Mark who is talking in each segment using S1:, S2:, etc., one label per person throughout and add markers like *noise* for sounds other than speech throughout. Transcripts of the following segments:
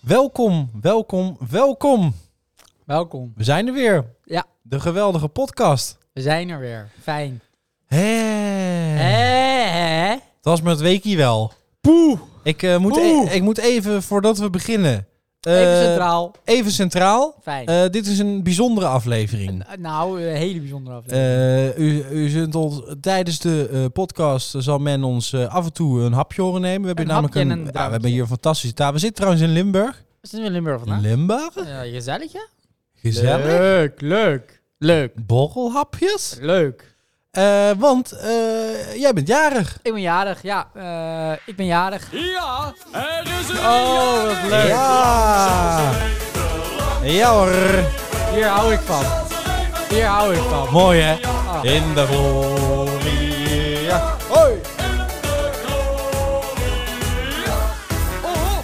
S1: Welkom, welkom, welkom.
S2: Welkom.
S1: We zijn er weer.
S2: Ja.
S1: De geweldige podcast.
S2: We zijn er weer. Fijn.
S1: Hé.
S2: Eh. Hè?
S1: Dat was mijn weekie wel.
S2: Poeh.
S1: Ik, eh, moet
S2: Oeh.
S1: e- ik moet even, voordat we beginnen... eh,
S2: Even centraal.
S1: even centraal.
S2: Fijn.
S1: Eh, dit is een bijzondere aflevering.
S2: nou, een hele bijzondere aflevering.
S1: Eh, u, u zult ons, tijdens de eh, podcast zal men ons eh, af en toe een hapje horen nemen. We hebben
S2: Een
S1: hier namelijk
S2: hapje en
S1: een, ja,
S2: een
S1: we hebben
S2: drankje.
S1: hier een fantastische tafel. We zitten trouwens in Limburg.
S2: We zijn in Limburg
S1: In
S2: vandaag.
S1: Limburg?
S2: Eh, Ja, gezellig, hè?
S1: Gezellig.
S2: Leuk, leuk. Leuk,
S1: Borrelhapjes?
S2: leuk.
S1: Eh, want eh, jij bent jarig.
S2: Ik ben jarig, ja. eh, ik ben jarig.
S3: Ja, er is een
S2: Oh, wat leuk.
S1: Ja. Ja hoor.
S2: Hier hou ik van. Hier hou ik van.
S1: Mooi hè? In de gloria. Hoi.
S3: Oh,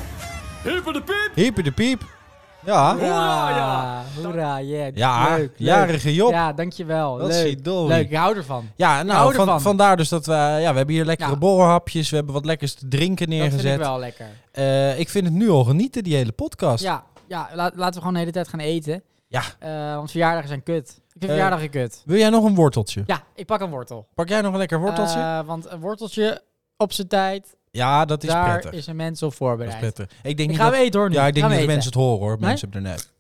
S3: Hyper de piep.
S1: Hyper de piep. Ja.
S3: Hoera, ja.
S2: Hoera, yeah.
S1: Ja,
S2: Leuk, leuk.
S1: jarige Job. Ja,
S2: Ja, dankjewel.
S1: Dat is
S2: leuk.
S1: idol.
S2: leuk, ik hou ervan. Ik
S1: nou,
S2: hou
S1: van-
S2: ervan.
S1: vandaar dus dat we... Ja, we hebben hier lekkere
S2: Ja.
S1: borrelhapjes. We hebben wat lekkers te drinken
S2: Dat vind ik
S1: neergezet.
S2: wel lekker.
S1: Eh, ik vind het nu al genieten, die hele podcast.
S2: Ja, ja la- laten we gewoon de hele tijd gaan eten.
S1: Ja.
S2: Eh, want verjaardagen zijn kut. Ik vind
S1: Eh,
S2: verjaardagen kut.
S1: Wil jij nog een worteltje?
S2: Ja, ik pak een wortel.
S1: Pak jij nog een lekker worteltje?
S2: Eh, want een worteltje op zijn tijd,
S1: ja, dat is
S2: daar
S1: prettig.
S2: is een mens op
S1: dat is
S2: voorbereid.
S1: prettig. Ik denk
S2: ik
S1: niet
S2: ga
S1: dat-
S2: hem eten hoor nu.
S1: Ja, ik denk
S2: Gaan
S1: niet
S2: we
S1: dat
S2: eten.
S1: mensen het horen hoor.
S2: Nee?
S1: Mensen hebben er net.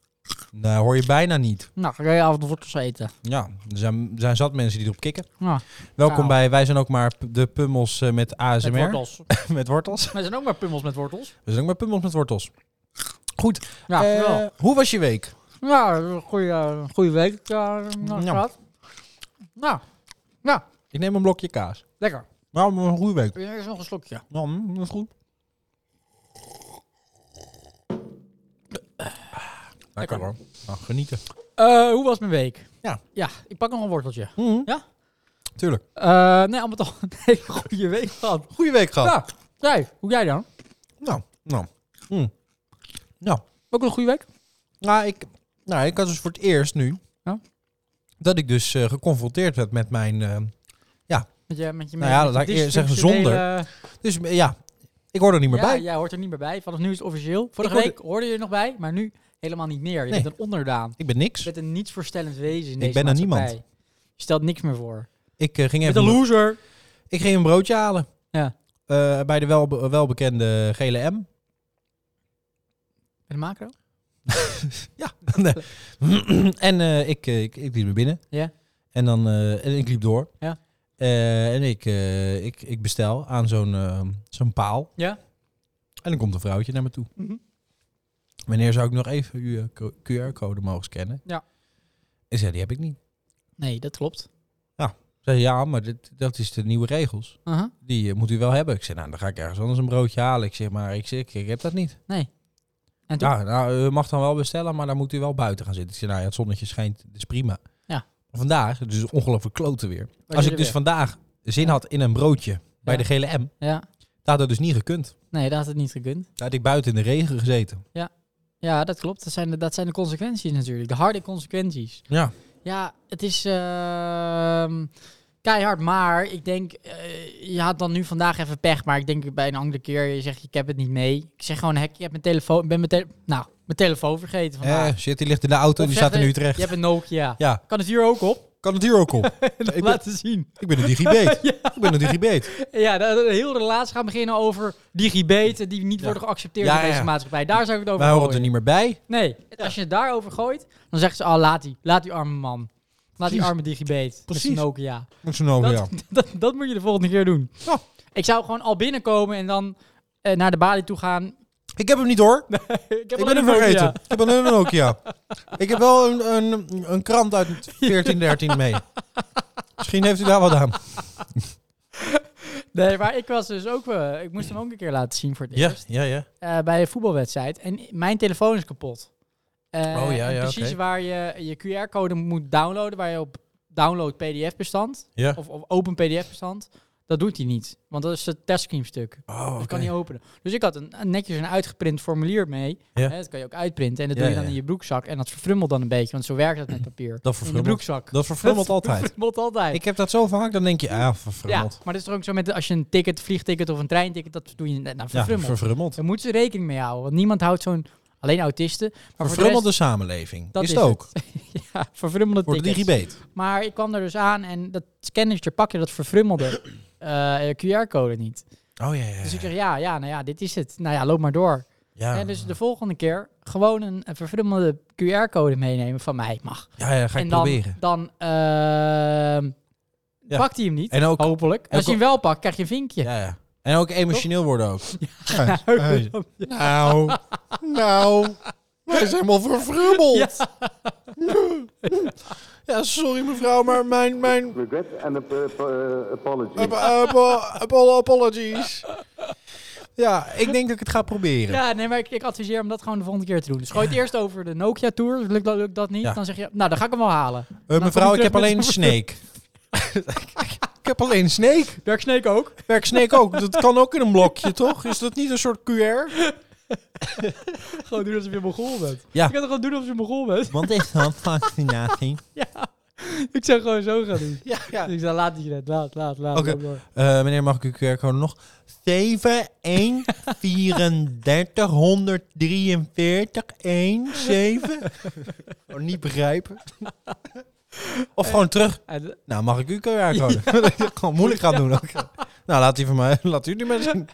S1: Nou, hoor je bijna niet.
S2: Nou, ga jij avond wortels eten.
S1: Ja, er zijn, er zijn zat mensen die erop kikken.
S2: Nou,
S1: Welkom
S2: Nou.
S1: bij Wij zijn ook maar p- de pummels eh, met ASMR.
S2: met wortels.
S1: *laughs* Met wortels.
S2: Maar er zijn ook maar pummels met wortels.
S1: We zijn ook maar pummels met wortels. Goed,
S2: Ja,
S1: eh,
S2: wel.
S1: hoe was je week?
S2: Ja, een goede, een goede week eh, nou,
S1: Ja.
S2: gehad. Nou,
S1: Ik neem een blokje kaas.
S2: lekker.
S1: Nou, een goede week.
S2: Er is nog een slokje.
S1: Nou, mm, dat is goed. Lekker Ah,
S2: Lekker.
S1: hoor. Nou, genieten.
S2: Eh, hoe was mijn week?
S1: Ja.
S2: Ja, ik pak nog een worteltje.
S1: Mhm.
S2: Ja?
S1: Tuurlijk.
S2: Eh, nee, allemaal toch een *laughs* hele goede week gehad.
S1: Goede week gehad.
S2: Ja, jij, hoe jij dan?
S1: Nou, nou. Mm. Nou,
S2: Ook een goede week?
S1: Nou, ik, nou, ik had dus voor het eerst nu
S2: Ja.
S1: dat ik dus eh, geconfronteerd werd met mijn. eh,
S2: Met je, met je,
S1: Nou ja,
S2: met je
S1: laat ik eerst zeggen,
S2: dysfunctionele-
S1: dus eh, ja, ik hoor er niet meer
S2: ja,
S1: bij.
S2: jij hoort er niet meer bij. Vanaf nu is het officieel. Vorige
S1: hoorde-
S2: week hoorde je er nog bij, maar nu helemaal niet meer. Je
S1: Nee.
S2: bent een onderdaan.
S1: Ik ben
S2: Je
S1: niks.
S2: bent een nietsverstellend wezen in
S1: Ik
S2: deze
S1: ben een niemand.
S2: maatschappij. Je stelt niks meer voor.
S1: Ik, eh, ging
S2: Je bent
S1: even
S2: een loser.
S1: ik ging een broodje halen.
S2: Ja.
S1: Eh, bij de welbe- welbekende gele M.
S2: Met een macro?
S1: Ja. *laughs* *clears throat* en eh, ik, eh, ik, ik liep naar binnen.
S2: Ja.
S1: En, dan, eh, en ik liep door.
S2: Ja.
S1: Eh, en ik, eh, ik, ik bestel aan zo'n eh, zo'n paal.
S2: Ja.
S1: En dan komt een vrouwtje naar me toe.
S2: Mhm.
S1: Wanneer zou ik nog even uw eh, Q- QR-code mogen scannen?
S2: Ja.
S1: Ik zei, die heb ik niet.
S2: Nee, dat klopt.
S1: Ze zei, ja, maar dit, dat is de nieuwe regels.
S2: Uh-huh.
S1: Die eh, moet u wel hebben. Ik zei, nou, dan ga ik ergens anders een broodje halen. Ik zeg, maar ik, zeg, ik, ik heb dat niet.
S2: Nee. En toen?
S1: Ja, nou, u mag dan wel bestellen, maar dan moet u wel buiten gaan zitten. Ik zei, nou ja, het zonnetje schijnt, dat is prima.
S2: Ja.
S1: Vandaag, het is ongelooflijk klote weer.
S2: Was
S1: Als ik
S2: je er
S1: dus
S2: weer?
S1: vandaag zin had in een broodje bij
S2: Ja.
S1: de gele M,
S2: Ja.
S1: dat had dat dus niet gekund.
S2: Nee, dat had het niet gekund.
S1: Daar had ik buiten in de regen gezeten.
S2: Ja, dat klopt. Dat zijn de, dat zijn de consequenties natuurlijk. De harde consequenties.
S1: Ja.
S2: Ja, het is ehm, keihard, maar ik denk, eh, je had dan nu vandaag even pech, maar ik denk bij een andere keer, je zegt, ik heb het niet mee. Ik zeg gewoon, hek, ik heb mijn telefoon, ben mijn, tele- nou, mijn telefoon vergeten vandaag.
S1: Eh, shit, die ligt in de auto en
S2: Of
S1: die
S2: zeg
S1: staat in
S2: je-
S1: Utrecht.
S2: Je hebt een Nokia.
S1: Ja,
S2: Kan het hier ook
S1: *laughs*
S2: op?
S1: kan het hier ook op. ik, ben,
S2: Laten zien.
S1: ik ben
S2: *laughs*
S1: een digibeet. Ik ben een digibeet.
S2: Ja, de, de hele relatie gaan beginnen over digibeten die niet worden geaccepteerd
S1: Ja,
S2: in deze
S1: ja.
S2: maatschappij. Daar zou ik het over
S1: Wij horen er
S2: gooien.
S1: niet meer bij.
S2: Nee, als je het daarover gooit, dan zeggen ze, oh, laat die, laat die arme man. Laat die
S1: Precies.
S2: arme digibeet met
S1: Precies.
S2: zijn Nokia.
S1: Met zo'n ogen, ja.
S2: Dat, *laughs* dat, dat moet je de volgende keer doen.
S1: Ja.
S2: Oh. Ik zou gewoon al binnenkomen en dan eh, naar de balie toe gaan.
S1: Ik heb hem niet hoor.
S2: ik heb
S1: Ik
S2: alleen
S1: ben hem
S2: een Nokia.
S1: vergeten. Ik heb alleen een Nokia. Ik heb wel een, een, een krant uit 1413 mee. Misschien heeft u daar wat aan.
S2: Nee, maar ik was dus ook... eh, ik moest hem ook een keer laten zien voor het eerst.
S1: ja, ja.
S2: eh, bij een voetbalwedstrijd. En mijn telefoon is kapot. Eh,
S1: Oh, ja,
S2: en
S1: ja,
S2: Precies
S1: oké.
S2: waar je je QR-code moet downloaden. Waar je op download PDF-bestand
S1: Ja.
S2: of, of open PDF-bestand. Dat doet hij niet. Want dat is het testscreen stuk.
S1: Oh,
S2: Dat kan niet openen. Dus ik had een, een netjes een uitgeprint formulier mee.
S1: Ja.
S2: Hè, dat kan je ook uitprinten. En dat
S1: Ja,
S2: doe je
S1: ja,
S2: dan in
S1: ja.
S2: je broekzak. En dat verfrummelt dan een beetje. Want zo werkt dat met papier.
S1: Dat
S2: in je
S1: verfrummelt.
S2: broekzak.
S1: Dat
S2: *laughs*
S1: verfrummelt altijd.
S2: verfrummelt altijd.
S1: Ik heb dat zo vaak, dan denk je, ah,
S2: ja,
S1: verfrummeld.
S2: maar dat is toch ook zo met als je een ticket, vliegticket of een treinticket, dat doe je net nou,
S1: Ja,
S2: verfrummelt.
S1: verfrummeld.
S2: Daar moeten ze rekening mee houden. Want niemand houdt zo'n Alleen autisten. Maar voor de rest-
S1: Verfrummelde samenleving.
S2: dat
S1: is het
S2: *laughs*
S1: ook. dus-
S2: ja, verfrummelde
S1: Voor de
S2: tickets.
S1: digibet.
S2: Maar ik kwam er dus aan en dat scannertje pak je dat
S1: *clears throat*
S2: verfrummelde eh, QR-code niet.
S1: Oh ja, ja.
S2: Dus ik zeg, ja, ja, nou ja, dit is het. Nou ja, loop maar door.
S1: ja.
S2: En dus de volgende keer gewoon een, een verfrummelde QR-code meenemen van mij. Mag.
S1: ja, ja, ga ik
S2: en dan,
S1: proberen.
S2: dan ehm,
S1: Ja.
S2: pakt hij hem niet.
S1: En ook,
S2: Hopelijk. Als je hem wel pakt, krijg je een vinkje. *laughs*
S1: ja, Ah, ja. en ook emotioneel worden ook.
S2: Hey.
S1: Nou, nou. Wij zijn helemaal verfrummeld. Ja. sorry mevrouw, maar mijn, mijn
S4: regret and ap- ap- uh, apology.
S1: apologies. Ja, ik denk dat ik het ga proberen.
S2: Ja, nee, maar ik, ik adviseer om dat gewoon de volgende keer te doen. Dus gooi het eerst over de Nokia Tour. dus Lukt dat, lukt dat niet?
S1: Ja.
S2: Dan zeg je, nou, dan ga ik hem wel halen.
S1: Eh, mevrouw,
S2: Nou, kom
S1: ik
S2: je
S1: heb
S2: terug
S1: alleen
S2: met- *laughs*
S1: Snake. ik heb alleen Snake.
S2: Werk Snake ook? *laughs*
S1: Werkt Snake ook? Dat kan ook in een blokje, toch? Is dat niet een soort QR?
S2: Gewoon doen alsof je Mongool bent.
S1: Ja.
S2: Je kan toch gewoon doen alsof je Mongool bent? *laughs*
S1: Want is dat vaccinatie?
S2: Ik zou gewoon zo gaan doen.
S1: Ja, ja.
S2: Ik zei, Dus laat die net. Laat, laat, laat.
S1: Oké.
S2: laat maar.
S1: Eh, meneer, mag ik uw QR-code nog? 7134117. Oh, niet begrijpen. Of gewoon terug.
S2: En,
S1: Nou, mag ik uw
S2: *laughs*
S1: QR-code? *laughs* gewoon moeilijk gaan doen. ook. *laughs* Nou, laat die van mij. *laughs* Laat u die
S2: *laughs*
S1: mensen.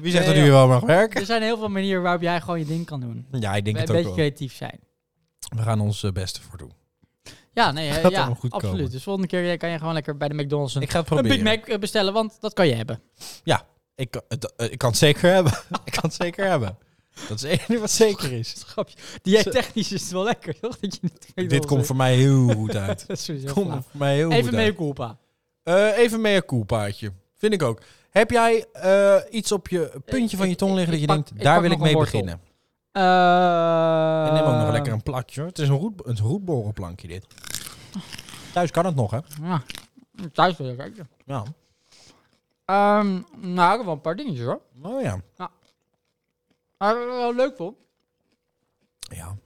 S1: Wie zegt dat u hier wel mag werken?
S2: er zijn heel veel manieren waarop jij gewoon je ding kan doen.
S1: Ja, ik denk
S2: Een
S1: het
S2: beetje
S1: ook wel.
S2: creatief zijn.
S1: We gaan ons eh, beste voor doen.
S2: Ja, nee, eh,
S1: Gaat
S2: ja,
S1: allemaal goed
S2: absoluut.
S1: komen.
S2: Dus volgende keer eh, kan je gewoon lekker bij de McDonald's een,
S1: Ik ga het
S2: een
S1: proberen.
S2: Big Mac eh, bestellen, want dat kan je hebben. *laughs*
S1: Ik, kan- het- eh, ik kan het zeker hebben. *laughs* ik kan het zeker hebben. Dat is het enige wat zeker
S2: *laughs*
S1: is.
S2: Grapje. Die eh, technisch is het wel lekker, toch? Dat je niet
S1: Dit komt voor mij heel goed uit.
S2: *laughs* Dat is sowieso
S1: Komt
S2: flauw.
S1: voor mij heel goed
S2: Even
S1: uit.
S2: mee, culpa.
S1: Eh, even mea culpaatje. Vind ik ook. Heb jij eh, iets op je puntje
S2: Ik-
S1: van je
S2: ik-
S1: tong
S2: ik-
S1: liggen dat
S2: ik
S1: je
S2: pak-
S1: denkt,
S2: ik
S1: daar
S2: pak
S1: wil ik
S2: nog een
S1: mee
S2: wortel.
S1: beginnen?
S2: Eh,
S1: En neem
S2: Ehm.
S1: ook nog lekker een platje. hoor. Het is een, roet, een roetborenplankje dit. Thuis kan het nog, hè?
S2: Ja, thuis wil ik kijken.
S1: Ja.
S2: Ehm, nou, ik heb wel een paar dingetjes hoor.
S1: Oh ja.
S2: Maar wat ik wel leuk vond.
S1: Ja.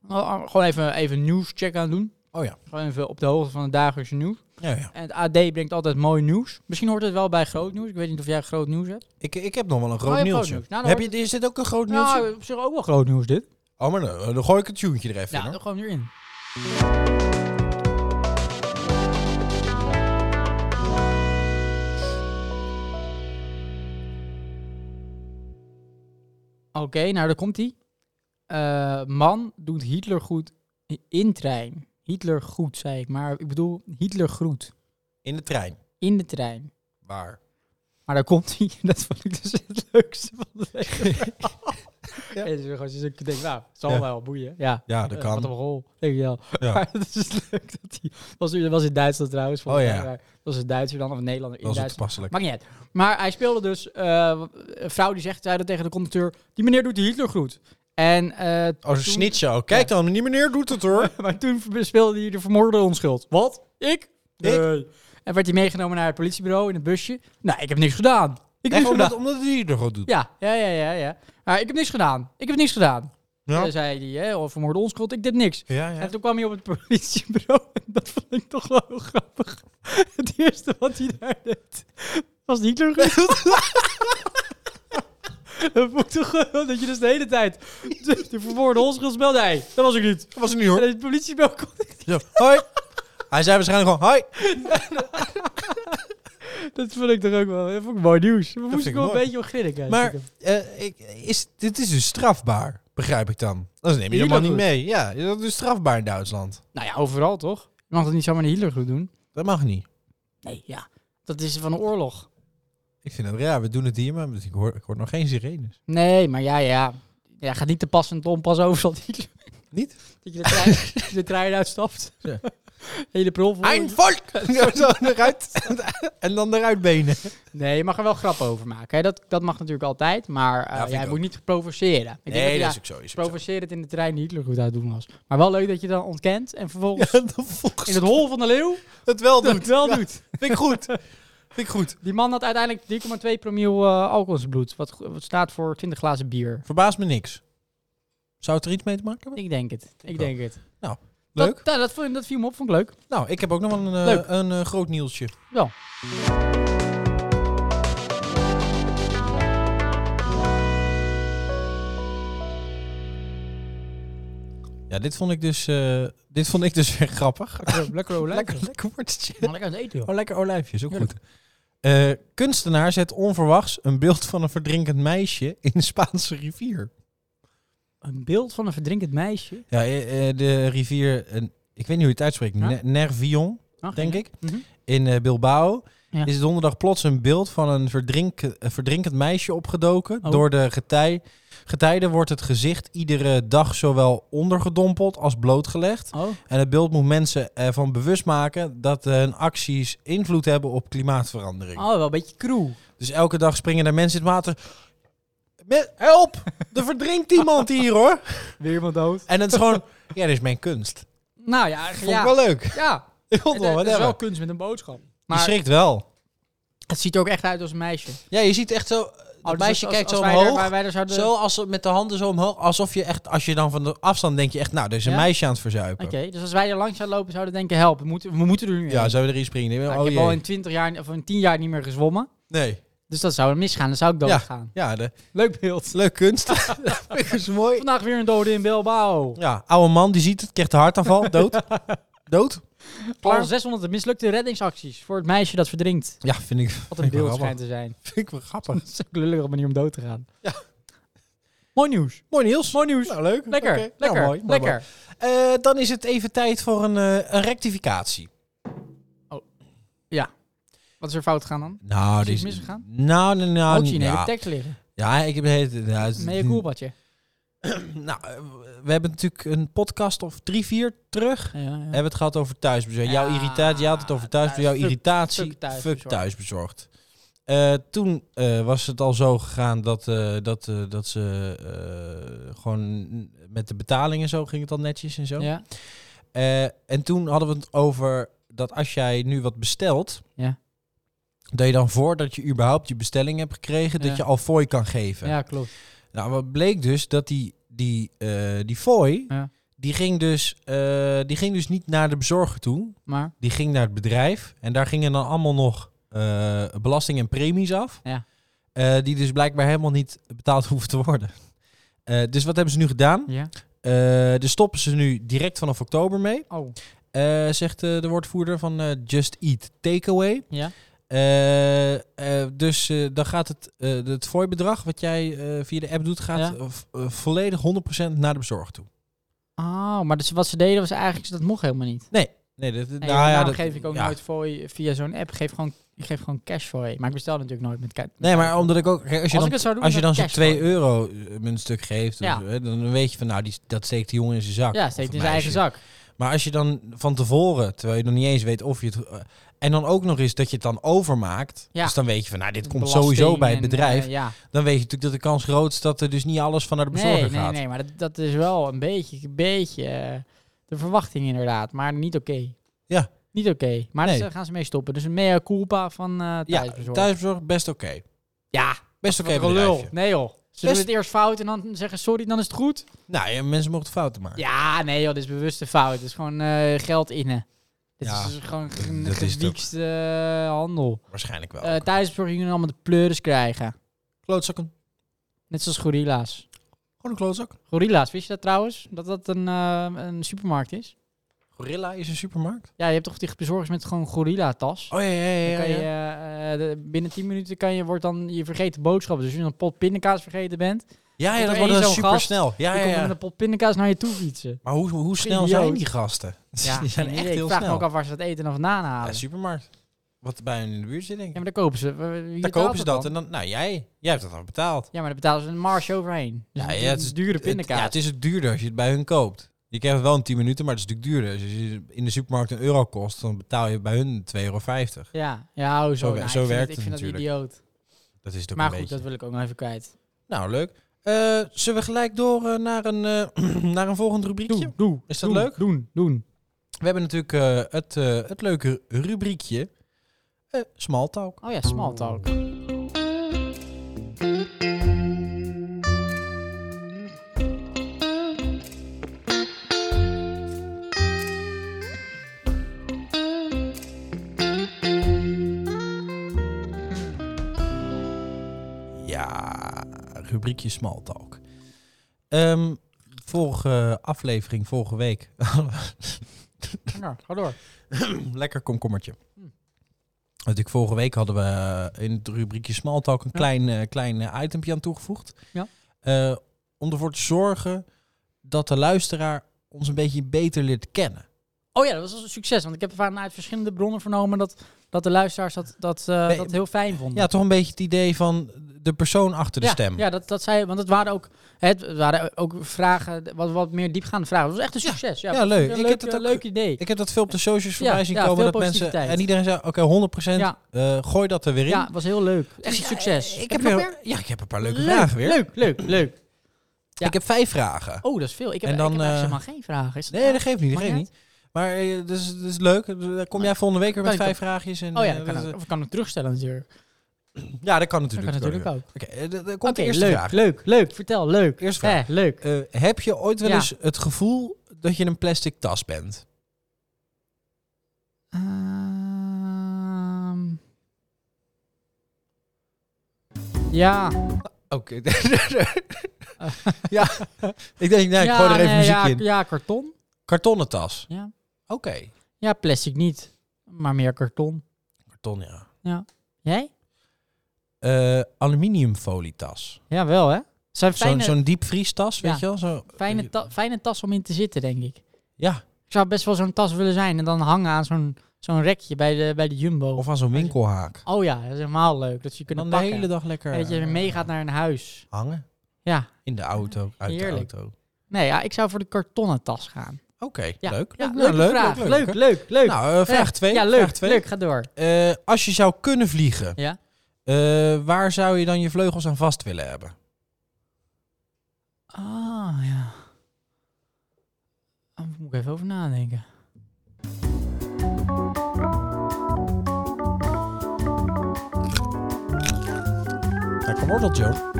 S2: wel, eh, Gewoon even, even nieuwscheck aan doen.
S1: Oh ja.
S2: Gewoon even op de hoogte van het dagelijkse nieuws.
S1: ja, ja.
S2: En het AD brengt altijd mooi nieuws. Misschien hoort het wel bij groot nieuws. Ik weet niet of jij groot nieuws hebt.
S1: Ik, ik heb nog wel een
S2: je
S1: groot
S2: hebt
S1: nieuwsje.
S2: groot nieuws. Nou, dan
S1: heb je, is dit ook een groot nieuwsje?
S2: Nou, op zich ook wel groot nieuws dit.
S1: Oh, maar dan, dan gooi ik het tuintje er even
S2: Ja,
S1: in, hoor.
S2: dan gewoon hierin. Oké, nou daar komt hij. man doet Hitler goed in trein. Hitler goed, zei ik, maar ik bedoel Hitler groet
S1: In de trein.
S2: in de trein.
S1: Waar?
S2: Maar daar komt hij. *laughs* Dat vond ik dus het leukste van de hele
S1: *laughs* Ja.
S2: *laughs* ja. En zo gewoon, dus ik denk, nou, het zal
S1: Ja.
S2: wel boeien. Ja,
S1: Ja, dat
S2: eh,
S1: kan.
S2: Wat een rol, denk ik wel.
S1: Ja.
S2: *laughs* Maar het is leuk dat hij... Was, dat was in Duitsland trouwens. volgens
S1: Oh,
S2: mij,
S1: ja.
S2: maar Dat was een Duitser dan, of een Nederlander in
S1: Dat is het
S2: Duitsland.
S1: toepasselijk.
S2: Maakt niet uit. Maar hij speelde dus... eh, een vrouw die zegt, zei dat tegen de conducteur... Die meneer doet de Hitlergroet. En eh, *laughs*
S1: Oh, ze
S2: toen-
S1: snitchen ook. Kijk dan, die meneer doet het
S2: *laughs*
S1: hoor.
S2: maar toen speelde hij de vermoorde onschuld. Wat? Ik? Nee. En werd hij meegenomen naar het politiebureau in het busje. Nou, ik heb niks gedaan.
S1: Echt
S2: Ik heb niks gedaan.
S1: omdat, omdat hij er goed doet.
S2: Ja, ja, ja, ja. ja. Maar ik heb niks gedaan. Ik heb niks gedaan. Eh, zei hij, hè, of vermoorde onschuld. Ik deed niks.
S1: ja. ja.
S2: En toen kwam hij op het *laughs* politiebureau. En dat vond ik toch wel heel grappig. *laughs* Het eerste wat hij daar deed, was Hitler
S1: *laughs*
S2: *laughs* genoemd. Dat vond ik toch wel dat je dus de hele tijd de, de vermoorde onschuld speelde. Hey, dat was ik niet.
S1: Dat was het niet
S2: *laughs*
S1: hoor.
S2: En het politiebureau kon
S1: Zo, hoi. Hij zei waarschijnlijk gewoon, hoi.
S2: Dat vond ik toch ook wel. Dat vond ik mooi nieuws. We
S1: vind
S2: moesten
S1: ik
S2: gewoon een
S1: mooi.
S2: beetje om grinniken.
S1: Maar eh, ik, is, dit is dus strafbaar, begrijp ik dan. Dat neem je helemaal niet
S2: Hitlergroet.
S1: mee. Ja, dat is strafbaar in Duitsland.
S2: Nou ja, overal toch? Je mag dat niet zomaar een Hitlergroep doen.
S1: Dat mag niet.
S2: Nee, ja. Dat is van een oorlog.
S1: Ik vind het raar, we doen het hier, maar ik hoor, ik hoor nog geen sirenes.
S2: Nee, maar ja, ja. Ja, gaat niet te pas en te onpas overal Hitler.
S1: Niet?
S2: Dat je de trein,
S1: *laughs*
S2: dat je de trein uitstapt.
S1: Ja.
S2: *laughs* Hele prol vol. *laughs*
S1: volk! Zo eruit. en dan eruit benen.
S2: Nee, je mag er wel grappen over maken. Hè. Dat, dat mag natuurlijk altijd. Maar eh,
S1: Ja, vind
S2: jij
S1: ik
S2: moet niet provoceren. Ik denk dat, ja,
S1: ook zo. Is
S2: provocerend in de trein de Hitlergroep uitdoen was. Maar wel leuk dat je dan ontkent. En vervolgens
S1: Ja, dan volgens
S2: in het hol van de leeuw
S1: het wel
S2: *laughs* dat
S1: doet.
S2: het wel
S1: Ja,
S2: doet.
S1: Vind ik goed. Vind ik goed.
S2: Die man had uiteindelijk 3,2 promiel eh, alcohol in zijn bloed. Wat, go- wat staat voor 20 glazen bier.
S1: Verbaast me niks. Zou het er iets mee te maken hebben?
S2: Ik denk het. Ik denk het.
S1: Leuk.
S2: Dat, dat, dat, vond- dat viel me op. Vond ik leuk.
S1: Nou, ik heb ook nog wel een, eh,
S2: Leuk.
S1: een eh, groot nieuwsje.
S2: Ja.
S1: Ja, dit vond ik dus, eh, dit vond ik dus *laughs* weer grappig. Lekker, lekker olijfjes.
S2: Lekker-
S1: lekker woordje.
S2: Maar lekker aan het eten, joh.
S1: Oh, lekker olijfjes, ook
S2: Heerlijk.
S1: goed. Eh, kunstenaar zet onverwachts een beeld van een verdrinkend meisje in de Spaanse rivier.
S2: Een beeld van een verdrinkend meisje.
S1: Ja, eh, eh, de rivier, eh, ik weet niet hoe je het uitspreekt,
S2: Ja.
S1: Ne- Nervion,
S2: Ach,
S1: denk
S2: ja.
S1: ik.
S2: Mhm.
S1: in eh, Bilbao
S2: Ja.
S1: is donderdag plots een beeld van een, verdrink, een verdrinkend meisje opgedoken.
S2: Oh.
S1: Door de getij, getijden wordt het gezicht iedere dag zowel ondergedompeld als blootgelegd.
S2: Oh,
S1: En het beeld moet mensen ervan bewust maken dat eh, hun acties invloed hebben op klimaatverandering.
S2: oh wel een beetje crew.
S1: Dus elke dag springen er mensen in het water. Me- Help! Er verdrinkt iemand hier hoor!
S2: Weer iemand dood.
S1: En het is gewoon, ja, dit is mijn kunst.
S2: Nou ja,
S1: Vond
S2: ja.
S1: ik wel leuk. *laughs*
S2: ja.
S1: Ik vond het wel,
S2: Het is wel
S1: whatever.
S2: kunst met een boodschap.
S1: Je
S2: Maar
S1: schrikt wel.
S2: het ziet er ook echt uit als een meisje.
S1: Ja, je ziet echt zo. Het
S2: Oh, dus
S1: meisje
S2: als-
S1: kijkt
S2: als
S1: zo
S2: wij
S1: omhoog.
S2: daar- waar wij daar zouden...
S1: Zo als ze met de handen zo omhoog. Alsof je echt, als je dan van de afstand denk je echt, nou, er is een
S2: Ja?
S1: meisje aan het
S2: Oké,
S1: verzuipen.
S2: dus als wij er langs zouden lopen, zouden we denken, help, we moeten, we moeten er nu
S1: Ja,
S2: heen.
S1: zou je erin springen?
S2: Nou,
S1: oh,
S2: ik heb
S1: jee.
S2: al in 20 jaar of in 10 jaar niet meer gezwommen.
S1: Nee.
S2: Dus dat zou er misgaan, dan zou ik
S1: Ja.
S2: doodgaan. gaan.
S1: Ja, de,
S2: Leuk beeld.
S1: leuk
S2: *laughs*
S1: kunst. dat is mooi.
S2: Vandaag weer een dode in Bilbao.
S1: Ja, oude man, die ziet het, krijgt een hartaanval,
S2: *laughs*
S1: dood. Dood?
S2: Al 600 mislukte reddingsacties voor het meisje dat verdrinkt.
S1: Ja, vind ik,
S2: Wat
S1: vind
S2: een
S1: ik wel
S2: beeld
S1: grappig.
S2: schijnt te zijn.
S1: Vind ik wel grappig.
S2: Dat is ook een lullige manier om dood te gaan.
S1: Ja.
S2: Mooi nieuws.
S1: *laughs* Mooi nieuws.
S2: Mooi nieuws.
S1: Nou, leuk.
S2: Lekker,
S1: Oké. Nou,
S2: lekker,
S1: mooi, mooi,
S2: lekker.
S1: mooi. Eh, dan is het even tijd voor een, eh, een rectificatie.
S2: Wat is er fout gegaan dan?
S1: Nou,
S2: Is
S1: dit
S2: iets
S1: is...
S2: misgegaan? Oh,
S1: Nou, nou, nou,
S2: Ook zie je een hele
S1: ja.
S2: tekst liggen.
S1: ja, ik heb... Ja,
S2: Met je koelpadje.
S1: *laughs* Nou, eh, we hebben natuurlijk een podcast of drie, vier terug.
S2: Ja, ja, ja.
S1: Hebben we het gehad over thuisbezorgd. Jouw
S2: Ja,
S1: irritatie, je had het over thuisbezorgd. Jouw
S2: thuis- fuck-
S1: irritatie,
S2: fuck
S1: fuck
S2: thuisbezorgd.
S1: thuisbezorgd. Eh, toen eh, was het al zo gegaan dat, eh, dat, eh, dat ze eh, gewoon met de betalingen zo ging het al netjes en zo.
S2: Ja.
S1: Eh, en toen hadden we het over dat als jij nu wat bestelt,
S2: Ja.
S1: dat je dan voordat je überhaupt je bestelling hebt gekregen,
S2: Ja.
S1: dat je al fooi kan geven.
S2: ja, klopt.
S1: Nou, wat bleek dus dat die, die, eh, die fooi,
S2: Ja.
S1: die, ging dus, eh, die ging dus niet naar de bezorger toe.
S2: Maar
S1: Die ging naar het bedrijf. En daar gingen dan allemaal nog eh, belasting en premies af.
S2: Ja.
S1: Eh, die dus blijkbaar helemaal niet betaald *laughs* hoeven te worden. Eh, dus wat hebben ze nu gedaan?
S2: ja.
S1: Eh daar stoppen ze nu direct vanaf oktober mee.
S2: Oh,
S1: eh, zegt eh, de woordvoerder van eh, Just Eat Takeaway.
S2: ja.
S1: Eh, eh, dus eh, dan gaat het, eh het fooibedrag wat jij eh, via de app doet, gaat
S2: Ja.
S1: eh, v- eh, volledig 100% naar de bezorger toe.
S2: Oh, maar dus wat ze deden was eigenlijk, dat mocht helemaal niet.
S1: Nee, dat, nou
S2: Nee, nou,
S1: ja,
S2: daarom
S1: dat-
S2: geef ik ook
S1: ja.
S2: nooit fooi via zo'n app. Ik geef gewoon, ik geef gewoon cash fooi. Maar ik bestel natuurlijk nooit met cash.
S1: Nee, maar omdat ik ook... kijk, Als je
S2: als
S1: dan,
S2: ik het zou doen,
S1: als je dan zo'n
S2: cash
S1: 2
S2: fooi.
S1: euro eh, een stuk geeft,
S2: Ja.
S1: eh, dan weet je van, nou, die, dat steekt die jongen in zijn zak.
S2: Ja,
S1: of
S2: steekt in
S1: het
S2: zijn eigen
S1: meisje.
S2: zak.
S1: Maar als je dan van tevoren, terwijl je nog niet eens weet of je het... eh, en dan ook nog eens dat je het dan overmaakt.
S2: Ja.
S1: Dus dan weet je van, nou, dit komt
S2: Belasting
S1: sowieso bij het
S2: en,
S1: bedrijf.
S2: eh, ja.
S1: Dan weet je natuurlijk dat de kans groot is dat er dus niet alles van naar de bezorger
S2: Nee, nee,
S1: gaat.
S2: nee, maar dat, dat is wel een beetje, een beetje eh, de verwachting inderdaad. Maar niet oké.
S1: Ja.
S2: Niet oké. Maar dus
S1: Nee.
S2: daar gaan ze mee stoppen. Dus een mea culpa van eh
S1: Ja,
S2: thuisbezorgd.
S1: thuisbezorgd best oké.
S2: Ja,
S1: Best oké
S2: wat een
S1: bedrijfje.
S2: lul. Nee joh. Ze
S1: Best-
S2: doen het eerst fout en dan zeggen sorry, dan is het goed.
S1: Nou, ja, mensen mochten fouten maken.
S2: Ja, nee joh, dit is bewuste fout. Dit is gewoon eh, geld innen. Dit
S1: Ja,
S2: is gewoon
S1: dat is
S2: een
S1: Oh. het ook.
S2: gewiekste eh, handel.
S1: Waarschijnlijk wel.
S2: Eh thuisbezorging jullie allemaal de pleuris krijgen.
S1: klootzakken.
S2: Net zoals gorilla's.
S1: Gewoon een klootzak.
S2: Gorilla's, wist je dat trouwens? Dat dat een, eh, een supermarkt is?
S1: Gorilla is een supermarkt.
S2: Ja, je hebt toch die bezorgers met gewoon gorilla-tas?
S1: Oh ja, ja, ja. ja,
S2: Dan kan je,
S1: ja.
S2: eh, eh, de- binnen 10 minuten kan je, wordt dan je vergeten boodschappen. Dus als je een pot pindakaas vergeten bent,
S1: Ja,
S2: Komt
S1: ja,
S2: er
S1: dat
S2: één
S1: wordt dan
S2: zo'n
S1: super
S2: gast,
S1: snel. Ja,
S2: dan
S1: ja,
S2: komt
S1: ja.
S2: er met een pot pindakaas naar je toe
S1: *laughs*
S2: fietsen.
S1: Maar hoe, hoe snel
S2: Idioot.
S1: zijn die gasten? *laughs*
S2: Ja,
S1: die zijn
S2: geen
S1: echt
S2: idee.
S1: heel
S2: Ik vraag
S1: snel.
S2: me ook af waar ze dat eten dan vandaan
S1: Ja,
S2: halen. Ja,
S1: supermarkt. Wat bij hun in de buurt zit, denk ik.
S2: maar daar kopen ze. eh, Daar
S1: dan kopen ze dat. En dan, nou, jij, jij hebt dat dan betaald.
S2: Ja, maar daar betalen ze een marge overheen. Dus
S1: Ja,
S2: het-
S1: ja,
S2: het is dure
S1: Het, ja,
S2: pindakaas.
S1: het is ook duurder als je het bij hun koopt. Je krijgt het wel in 10 minuten, maar het is natuurlijk duurder. Dus als je in de supermarkt een euro kost, dan betaal je bij hun 2,50 euro.
S2: Ja, ja, oh, zo,
S1: Zo wer-
S2: nou,
S1: zo
S2: ik vind
S1: werkt
S2: het,
S1: het
S2: Ik vind
S1: natuurlijk.
S2: dat idioot.
S1: Dat is het ook
S2: Maar
S1: een
S2: goed,
S1: beetje.
S2: dat wil ik ook nog even kwijt.
S1: Nou, leuk. Eh, zullen we gelijk door eh, naar, een, eh, *clears throat* naar een volgend rubriekje?
S2: Doe, doe.
S1: Is dat
S2: doe,
S1: leuk?
S2: Doen, doen.
S1: We hebben natuurlijk eh, het, eh, het leuke rubriekje eh Smalltalk.
S2: Oh ja, small talk.
S1: Ja, rubriekje Smalltalk. Ehm, vorige aflevering, vorige week. *laughs*
S2: Nou, ga door.
S1: Lekker komkommertje.
S2: Hm.
S1: Natuurlijk, vorige week hadden we eh, in het rubriekje Smalltalk een
S2: Ja.
S1: klein, eh, klein eh, itempje aan toegevoegd.
S2: Ja.
S1: Eh, om ervoor te zorgen dat de luisteraar ons een beetje beter leert kennen.
S2: Oh ja, dat was een succes. Want ik heb vanuit verschillende bronnen vernomen dat, dat de luisteraars dat, dat, eh,
S1: Nee,
S2: dat heel fijn vonden.
S1: Ja, toch een beetje het idee van de persoon achter de
S2: ja,
S1: stem.
S2: Ja, dat, dat zei Want het waren ook, het waren ook vragen, wat, wat meer diepgaande vragen. Het was echt een succes. Ja,
S1: ja, leuk.
S2: Een
S1: Ik
S2: leuk,
S1: heb dat
S2: eh,
S1: ook-
S2: leuk idee.
S1: Ik heb dat veel op de socials voorbij
S2: Ja,
S1: zien
S2: ja,
S1: komen.
S2: veel
S1: Dat mensen,
S2: positiviteit.
S1: en iedereen zei, oké, 100%,
S2: Ja.
S1: eh, gooi dat er weer in.
S2: ja, het was heel leuk. Echt een
S1: Ja,
S2: succes.
S1: Ik
S2: Heb
S1: heb
S2: je nog
S1: weer, ja, ik heb een paar leuke
S2: Leuk,
S1: vragen weer.
S2: Leuk, leuk, leuk. Ja.
S1: Ik heb vijf vragen.
S2: Oh, dat is veel. Ik heb,
S1: En dan,
S2: ik heb eigenlijk
S1: eh,
S2: helemaal geen vragen. Is dat
S1: Nee,
S2: waar?
S1: dat geeft niet. Dat
S2: Mag
S1: geeft
S2: niet?
S1: niet. Maar eh, dat is, dat is leuk. Dan kom jij volgende week weer met
S2: Kan ik
S1: vijf vraagjes. En,
S2: Oh ja,
S1: eh,
S2: dat kan
S1: dat-
S2: ook. Of ik kan het terugstellen natuurlijk.
S1: ja, dat kan
S2: Dat
S1: natuurlijk.
S2: kan natuurlijk ook.
S1: Oké, eh, dan dan komt
S2: Oké,
S1: de eerste
S2: leuk,
S1: vraag.
S2: leuk, leuk. Vertel, leuk.
S1: Eerste vraag.
S2: Eh, leuk.
S1: Eh, heb je ooit wel
S2: Ja.
S1: eens het gevoel dat je in een plastic tas bent?
S2: Ehm. Ja. *laughs*
S1: Oké. *laughs* ja. Ik denk, nee, ik
S2: ja,
S1: gooi er even
S2: nee,
S1: muziek
S2: ja,
S1: in.
S2: Ja, karton.
S1: Kartonnen tas.
S2: Ja.
S1: Oké.
S2: Ja, plastic niet. Maar meer karton.
S1: Karton, ja.
S2: Jij?
S1: Eh, aluminiumfolietas.
S2: Ja, wel hè? Zijn
S1: Zo'n
S2: fijne,
S1: zo'n diepvriestas, weet
S2: Ja.
S1: je wel? Zo,
S2: fijne, ta- fijne tas om in te zitten, denk ik.
S1: Ja,
S2: Ik zou best wel zo'n tas willen zijn en dan hangen aan zo'n zo'n rekje bij de, bij de Jumbo.
S1: of aan zo'n winkelhaak.
S2: oh ja, dat is helemaal leuk. Dat je kunt
S1: Dan
S2: pakken.
S1: de hele dag lekker
S2: En dat je
S1: eh,
S2: meegaat naar een huis.
S1: hangen.
S2: Ja.
S1: In de auto, uit
S2: Heerlijk.
S1: de auto.
S2: Nee, ja, ik zou voor de kartonnen tas gaan.
S1: Oké,
S2: Ja.
S1: leuk.
S2: Ja,
S1: Nou,
S2: leuke vraag. Leuk, leuk, leuk.
S1: Nou, eh, vraag
S2: Ja,
S1: 2.
S2: Ja, leuk, leuk. Ga door.
S1: als je zou kunnen vliegen,
S2: Ja.
S1: eh, waar zou je dan je vleugels aan vast willen hebben?
S2: Ah, ja. Daar moet ik even over nadenken.
S1: Lekker worteltje. hoor.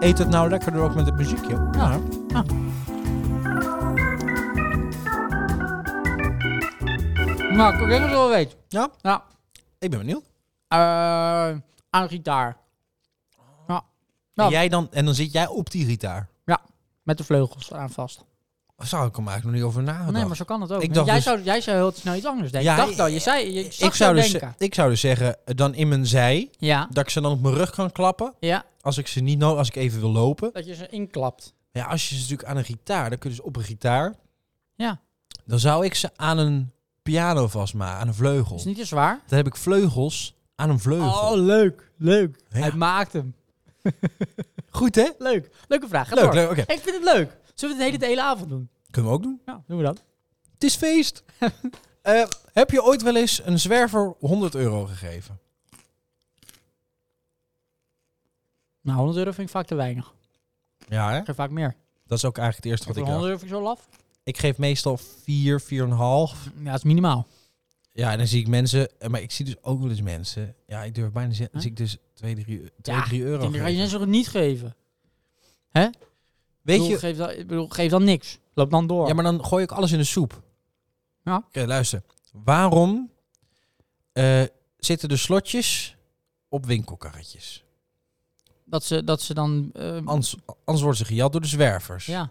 S1: Eet het nou lekker door ook met het muziekje. Ja.
S2: Ja. Nou, ik denk dat ik wel weet.
S1: Ja?
S2: Ja.
S1: Ik ben benieuwd.
S2: eh, aan een gitaar. Ja. Ja.
S1: En, jij dan, en dan zit jij op die gitaar.
S2: Met de vleugels eraan vast.
S1: Zou ik hem eigenlijk nog niet over nagedacht.
S2: Nee, maar zo kan het ook.
S1: Oh, Ik
S2: Want
S1: dacht
S2: jij,
S1: dus-
S2: zou, jij zou heel snel iets anders denken.
S1: Ja,
S2: ik dacht al, je
S1: ik-
S2: zei, je zag
S1: ik, zou dus,
S2: denken.
S1: ik zou dus zeggen, eh, dan in mijn zij,
S2: Ja,
S1: dat ik ze dan op mijn rug kan klappen.
S2: ja,
S1: Als ik ze niet nodig, als ik even wil lopen.
S2: dat je ze inklapt.
S1: Ja, als je ze natuurlijk aan een gitaar, dan kun je ze op een gitaar.
S2: Ja.
S1: Dan zou ik ze aan een piano vastmaken, aan een vleugel.
S2: Is niet te zwaar.
S1: Dan heb ik vleugels aan een vleugel.
S2: Oh, leuk, leuk.
S1: Ja.
S2: Hij maakt hem.
S1: Goed hè?
S2: Leuk. Leuke vraag. Ga
S1: Leuk,
S2: door.
S1: leuk. Oké,
S2: Ik vind het leuk. Zullen we het hele, de hele avond doen?
S1: kunnen we ook doen.
S2: Ja, doen we dat.
S1: Het is
S2: *laughs*
S1: feest. Eh, heb je ooit wel eens een zwerver 100 euro gegeven?
S2: Nou, 100 euro vind ik vaak te weinig.
S1: Ja hè?
S2: Ik geef vaak meer.
S1: Dat is ook eigenlijk het eerste
S2: Voor
S1: wat ik
S2: 100
S1: dacht.
S2: euro vind ik zo laf.
S1: Ik geef meestal 4, 4,5.
S2: Ja, dat is minimaal.
S1: Ja, en dan zie ik mensen, eh, maar ik zie dus ook wel eens mensen. Ja, ik durf bijna te zeggen, dan
S2: Huh?
S1: zie ik dus 2, 3,
S2: Ja, Ik
S1: euro
S2: denk, dat ga je net
S1: geven.
S2: zo goed niet geven.
S1: Weet
S2: bedoel,
S1: je,
S2: geef dan, ik bedoel, geef dan niks. Loop dan door.
S1: Ja, maar dan gooi ik alles in de soep.
S2: Ja.
S1: Oké, luister. Waarom eh, zitten de slotjes op winkelkarretjes?
S2: Dat, ze, dat ze dan... eh,
S1: Anders, anders worden ze gejat door de zwervers.
S2: ja.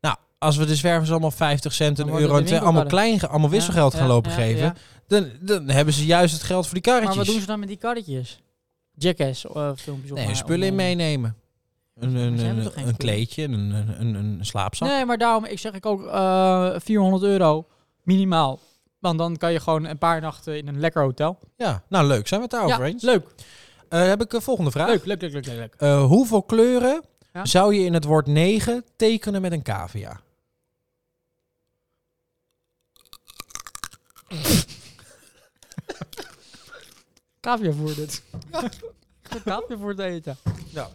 S1: Nou, als we de zwervers allemaal 50 cent, een
S2: Dan worden
S1: euro, en
S2: de
S1: twee- allemaal,
S2: winkelkarren-
S1: klein, ge- allemaal wisselgeld
S2: Ja,
S1: gaan
S2: ja,
S1: lopen
S2: ja,
S1: geven,
S2: ja.
S1: Dan, dan hebben ze juist het geld voor die karretjes.
S2: Maar wat doen ze dan met die karretjes? Jackass eh, filmpjes op.
S1: Nee,
S2: maar-
S1: hun spullen in
S2: om-
S1: meenemen. Een, een,
S2: hebben
S1: een,
S2: toch geen
S1: een
S2: spullen?
S1: kleedje, en een, een, een, een slaapzak.
S2: Nee, maar daarom ik zeg ik ook eh 400 euro minimaal. Want dan kan je gewoon een paar nachten in een lekker hotel.
S1: Ja, nou leuk, zijn we het daarover
S2: ja,
S1: eens?
S2: leuk,
S1: Eh, heb ik een volgende vraag.
S2: leuk, leuk, leuk, leuk, leuk, leuk.
S1: Eh, hoeveel kleuren
S2: Ja.
S1: zou je in het woord 9 tekenen met een cavia?
S2: Kaviavoer
S1: *laughs*
S2: dit. Kaviavoer te eten.
S1: Ja.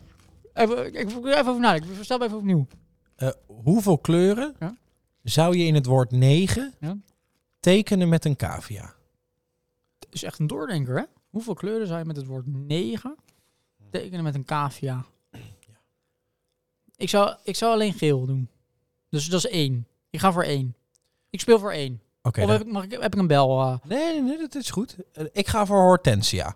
S2: Even, ik ik moet er even over nadenken. Ik Verstel me even opnieuw.
S1: Eh, hoeveel kleuren
S2: Ja.
S1: zou je in het woord 9
S2: Ja.
S1: tekenen met een cavia?
S2: Het is echt een doordenker, hè? Hoeveel kleuren zou je met het woord 9 tekenen met een cavia? Ik, zou, ik zou alleen geel doen. Dus dat is één. Ik ga voor één. Ik speel voor één.
S1: Oké.
S2: of
S1: dan-
S2: heb ik, mag ik, heb ik een bel? eh,
S1: nee, nee, nee, dat is goed. Eh, ik ga voor hortensia.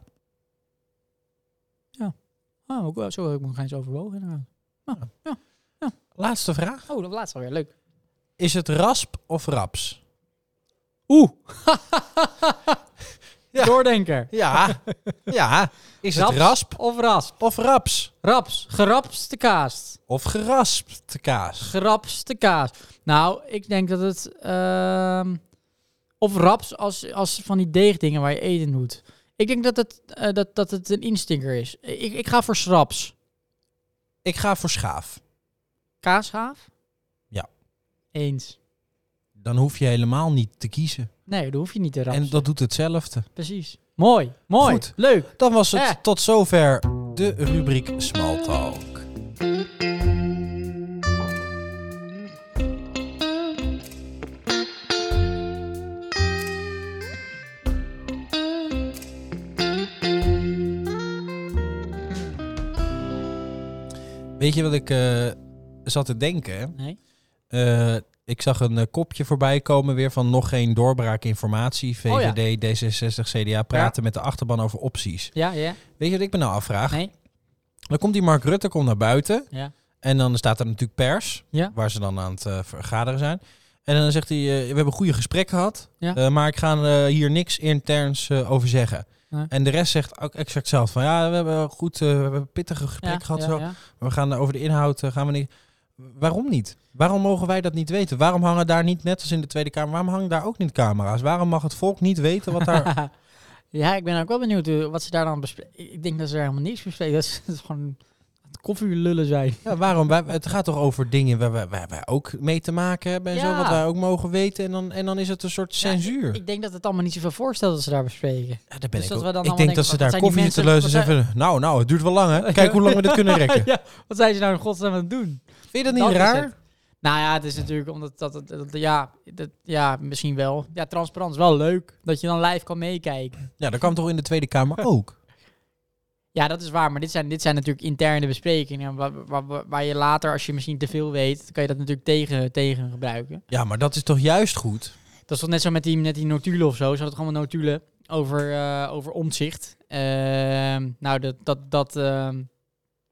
S2: Oh, ook wel, zo heb ik nog eens overwogen inderdaad. Ah, ja. Ja,
S1: Laatste vraag.
S2: Oh, dat laatste alweer. Leuk.
S1: Is het rasp of raps?
S2: Oeh.
S1: Ja.
S2: Doordenker.
S1: Ja. ja. Is het rasp
S2: of rasp?
S1: of raps?
S2: Raps. Gerapste kaas.
S1: Of geraspte kaas?
S2: Gerapste kaas. Nou, ik denk dat het... ehm, of raps als, als van die deegdingen waar je eten doet. Ik denk dat het, eh, dat, dat het een instinker is. Ik, ik ga voor schraps.
S1: Ik ga voor schaaf.
S2: Kaashaaf?
S1: Ja.
S2: Eens.
S1: Dan hoef je helemaal niet te kiezen.
S2: Nee, dat hoef je niet te raps.
S1: En dat doet hetzelfde.
S2: Precies. Mooi. Mooi.
S1: Goed.
S2: Leuk.
S1: Dan was het
S2: Eh.
S1: tot zover de rubriek Smalltalk. Weet je wat ik eh, zat te denken?
S2: Nee.
S1: Eh, ik zag een eh, kopje voorbij komen weer van nog geen doorbraakinformatie.
S2: Oh ja.
S1: VVD, D66, CDA praten met de achterban over opties.
S2: Ja, ja.
S1: Weet je wat ik me nou afvraag?
S2: Nee.
S1: Dan komt die Mark Rutte komt naar buiten.
S2: Ja.
S1: En dan staat er natuurlijk pers,
S2: Ja.
S1: waar ze dan aan het eh, vergaderen zijn. En dan zegt hij, eh, we hebben goede gesprekken gehad,
S2: Ja.
S1: eh, maar ik ga eh, hier niks interns eh, over zeggen.
S2: Nee.
S1: En de rest zegt ook exact hetzelfde. Van, ja, we hebben goed, eh, we hebben pittige gesprekken
S2: ja,
S1: gehad.
S2: ja,
S1: zo.
S2: ja.
S1: We gaan over de inhoud, eh, gaan we niet... Waarom niet? Waarom mogen wij dat niet weten? Waarom hangen daar niet, net als in de Tweede Kamer, waarom hangen daar ook niet camera's? Waarom mag het volk niet weten wat daar...
S2: ja, ik ben ook wel benieuwd eh, wat ze daar dan bespreken. Ik denk dat ze daar helemaal niks bespreken. *laughs* Dat ze dat ze gewoon aan het koffielullen zijn.
S1: Ja, waarom? Wij, het gaat toch over dingen waar wij, waar wij ook mee te maken hebben en zo,
S2: Ja.
S1: wat wij ook mogen weten. En dan, en dan is het een soort censuur.
S2: Ik denk dat het allemaal niet zoveel voorstelt dat ze daar bespreken.
S1: Ja, daar ben
S2: dus
S1: ik,
S2: dat
S1: ook-
S2: we dan
S1: ik
S2: allemaal
S1: denk dat
S2: denken,
S1: ze
S2: wat
S1: daar
S2: zijn die
S1: koffie zitten
S2: mensen-
S1: lezen en
S2: wat
S1: zeggen, nou, nou, het duurt wel
S2: *laughs*
S1: lang hè. Kijk hoe lang we dit kunnen rekken.
S2: ja, wat zijn ze nou in godsnaam aan het doen?
S1: Vind je dat niet
S2: Dat is het.
S1: raar?
S2: Nou ja, het is natuurlijk omdat dat, dat, dat- ja, dat, ja, misschien wel. Ja, transparant is wel leuk. Dat je dan live kan meekijken.
S1: Ja, dat kan toch in de Tweede Kamer ook?
S2: Ja, dat is waar. Maar dit zijn, dit zijn natuurlijk interne besprekingen. Waar, waar- waar, waar je later, als je misschien te veel weet, kan je dat natuurlijk tegen, tegen gebruiken.
S1: Ja, maar dat is toch juist goed?
S2: Dat is toch net zo met die, met die notulen of zo. Ze hadden toch allemaal notulen over, eh, over omzicht. nou, dat... dat, dat ehm,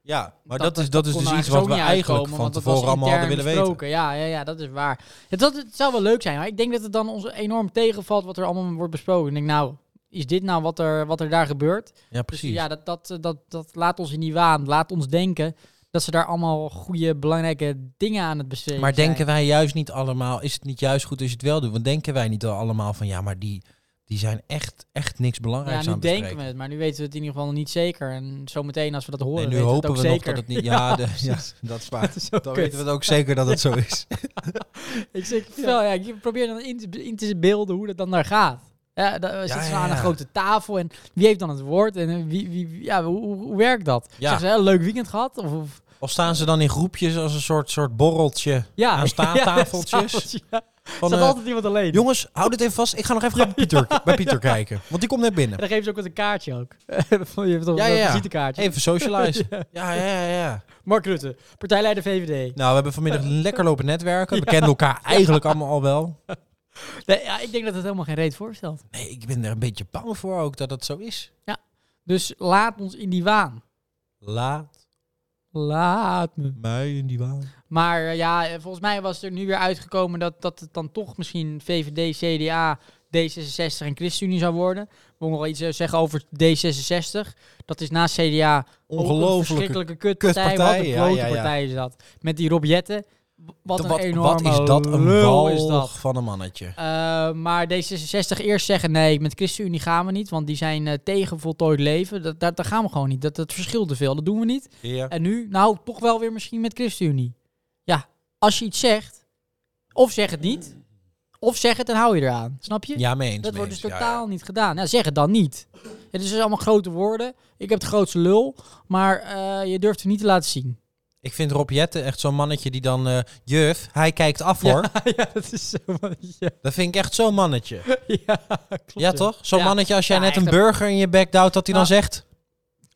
S1: Ja, maar dat,
S2: Dat-
S1: is, dat is
S2: kon
S1: dus
S2: er
S1: iets wat
S2: ook
S1: we
S2: niet
S1: eigenlijk
S2: uitkomen,
S1: van
S2: want dat was
S1: tevoren allemaal hadden willen
S2: intern
S1: weten.
S2: besproken. Ja, ja, ja, dat is waar. Ja, dat, het zou wel leuk zijn, maar ik denk dat het dan ons enorm tegenvalt wat er allemaal wordt besproken. Ik denk, nou, is dit nou wat er, wat er daar gebeurt?
S1: Ja,
S2: Dus
S1: precies.
S2: ja, dat, dat, dat, dat laat ons in die waan. Laat ons denken dat ze daar allemaal goede, belangrijke dingen aan het bespreken
S1: Maar
S2: zijn.
S1: denken wij juist niet allemaal, is het niet juist goed als je het wel doet? Want denken wij niet allemaal van, ja, maar die, die zijn echt, echt niks belangrijks
S2: Ja,
S1: aan het
S2: nu
S1: bespreken?
S2: denken we het, maar nu weten we het in ieder geval nog niet zeker. En zometeen als we dat horen,
S1: En nu
S2: weten
S1: hopen
S2: het
S1: we nog
S2: ook zeker.
S1: dat het
S2: *laughs*
S1: niet... Ja, de- ja, dat is waar.
S2: is
S1: Dan weten we het ook zeker dat
S2: *laughs*
S1: het zo is.
S2: Ik, zeg, wel, ja, ik probeer dan in te, in te beelden hoe dat dan daar gaat. Ja, daar zitten ze
S1: ja,
S2: aan
S1: ja.
S2: een grote tafel en wie heeft dan het woord en eh, wie, wie, wie- ja, hoe, hoe- hoe werkt dat?
S1: Ja.
S2: Zeggen ze, een leuk weekend gehad? Of, of-
S1: Of staan ze dan in groepjes als een soort, soort borreltje
S2: *laughs* ja,
S1: aan
S2: tafeltjes.
S1: staattafeltjes?
S2: Ja, er
S1: Nou, Van,
S2: staat
S1: eh,
S2: altijd iemand alleen.
S1: jongens, hou dit even vast. Ik ga nog even bij Pieter,
S2: *laughs*
S1: bij Pieter kijken. Want die komt net binnen.
S2: En dan geven ze ook wat een kaartje
S1: *laughs*
S2: ook. je hebt toch
S1: Ja,
S2: een
S1: ja, ja.
S2: visitekaartje.
S1: Even
S2: *laughs*
S1: socialize. Ja, ja, ja, ja.
S2: Mark Rutte, partijleider VVD.
S1: Nou, we hebben
S2: *laughs*
S1: vanmiddag lekker lopen netwerken. We kennen elkaar eigenlijk allemaal al wel.
S2: Nee, ja, ik denk dat het helemaal geen reet voorstelt.
S1: Nee, ik ben er een beetje bang voor ook dat dat zo is.
S2: Dus laat ons in die waan.
S1: Laat
S2: Laat me.
S1: mij in die waan.
S2: Maar eh, ja, eh, volgens mij was er nu weer uitgekomen dat, dat het dan toch misschien VVD, CDA, D66 en ChristenUnie zou worden. We nog wel iets eh, zeggen over D66. Dat is na CDA ook een
S1: Ongelooflijk.
S2: verschrikkelijke kutpartij. Wat
S1: kutpartij,
S2: een
S1: ja,
S2: grote
S1: ja, ja.
S2: partij is dat. Met die Rob Jetten. W- Wat een
S1: Wat,
S2: enorme
S1: wat is dat een
S2: lul is
S1: bal
S2: dat.
S1: van een mannetje?
S2: Eh, maar D66 eerst zeggen nee, met ChristenUnie gaan we niet. Want die zijn eh, tegen voltooid leven. Dat, dat, dat gaan we gewoon niet. Dat, dat verschilt te veel. Dat doen we niet.
S1: Ja.
S2: En nu, nou, toch wel weer misschien met ChristenUnie. Ja, als je iets zegt, of zeg het niet, of zeg het en hou je eraan. Snap *laughs* je?
S1: Ja, mee eens.
S2: dat
S1: mee
S2: wordt dus
S1: eens. Ja, ja.
S2: totaal niet gedaan. Nou, zeg het dan niet. Het is dus allemaal grote woorden. Ik heb de grootste lul, maar eh, je durft het niet te laten zien.
S1: Ik vind Rob Jetten echt zo'n mannetje die dan... eh, juf, hij kijkt af hoor.
S2: *laughs* ja, dat is zo. Ja,
S1: Dat vind ik echt zo'n
S2: *laughs*
S1: mannetje.
S2: klopt.
S1: Ja, toch? Zo'n
S2: Ja.
S1: mannetje als jij
S2: Ja,
S1: net een
S2: echt een-
S1: burger in je bek duwt, dat hij dan
S2: Nou.
S1: zegt...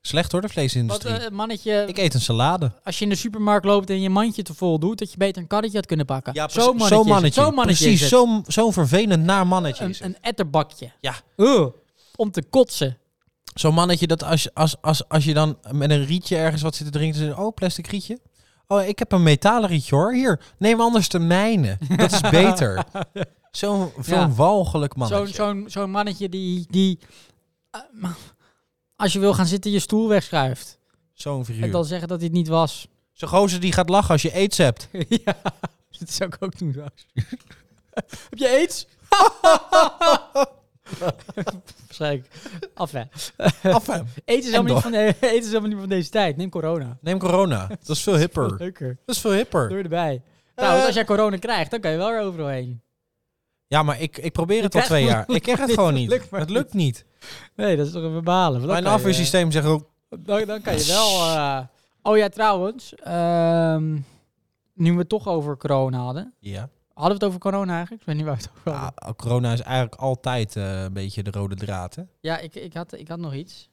S1: Slecht hoor, de
S2: Wat
S1: vleesindustrie.
S2: eh, mannetje,
S1: ik eet een salade.
S2: als je in de supermarkt loopt en je mandje te vol doet, dat je beter een karretje had kunnen pakken.
S1: Ja,
S2: zo'n mannetje. is het. Zo'n mannetje
S1: Precies,
S2: is het.
S1: zo'n zo'n vervelend naar mannetje is
S2: een,
S1: het.
S2: een etterbakje.
S1: Ja.
S2: Ugh. om te kotsen.
S1: Zo'n mannetje dat als, als, als, als je dan met een rietje ergens wat zit te drinken... Dan, zeg je, oh, plastic rietje. Oh, ik heb een metalen rietje hoor. Hier, neem anders de mijne. Dat
S2: *laughs*
S1: is beter. Zo'n zo'n
S2: Ja.
S1: walgelijk mannetje.
S2: Zo'n zo'n zo'n mannetje die, die eh, als je wil gaan zitten, je stoel wegschuift.
S1: Zo'n
S2: En
S1: figuur.
S2: dan zeggen dat hij het niet
S1: *laughs*
S2: was.
S1: Zo'n gozer die gaat lachen als je aids
S2: *laughs*
S1: hebt.
S2: ja, dat zou ik ook doen. zo.
S1: *laughs*
S2: Heb je aids? Waarschijnlijk. Af, hè.
S1: Af hem.
S2: Aids is, helemaal niet van de, *laughs* aids is helemaal niet van deze tijd. Neem corona.
S1: Neem corona. Dat is veel hipper.
S2: Veel *laughs* Leuker.
S1: Dat is veel hipper.
S2: Doe erbij. nou, als jij corona krijgt, dan kan je wel er overal heen.
S1: Ja, maar ik, ik probeer het al
S2: krijgt
S1: twee
S2: het *laughs*
S1: jaar. Ik krijg het
S2: niet.
S1: gewoon
S2: Het
S1: niet.
S2: lukt maar
S1: het lukt niet.
S2: Nee, dat is toch een verbalen. want dan
S1: Mijn
S2: kan je-
S1: afweersysteem zegt ook...
S2: Dan, dan kan je wel. eh, Oh ja, trouwens. ehm, nu we het toch over corona hadden.
S1: Ja.
S2: Hadden we het over corona eigenlijk? Ik weet niet waar we het over hadden.
S1: Ah, corona is eigenlijk altijd eh, een beetje de rode draad, hè?
S2: Ja, ik, ik, had, ik had nog iets.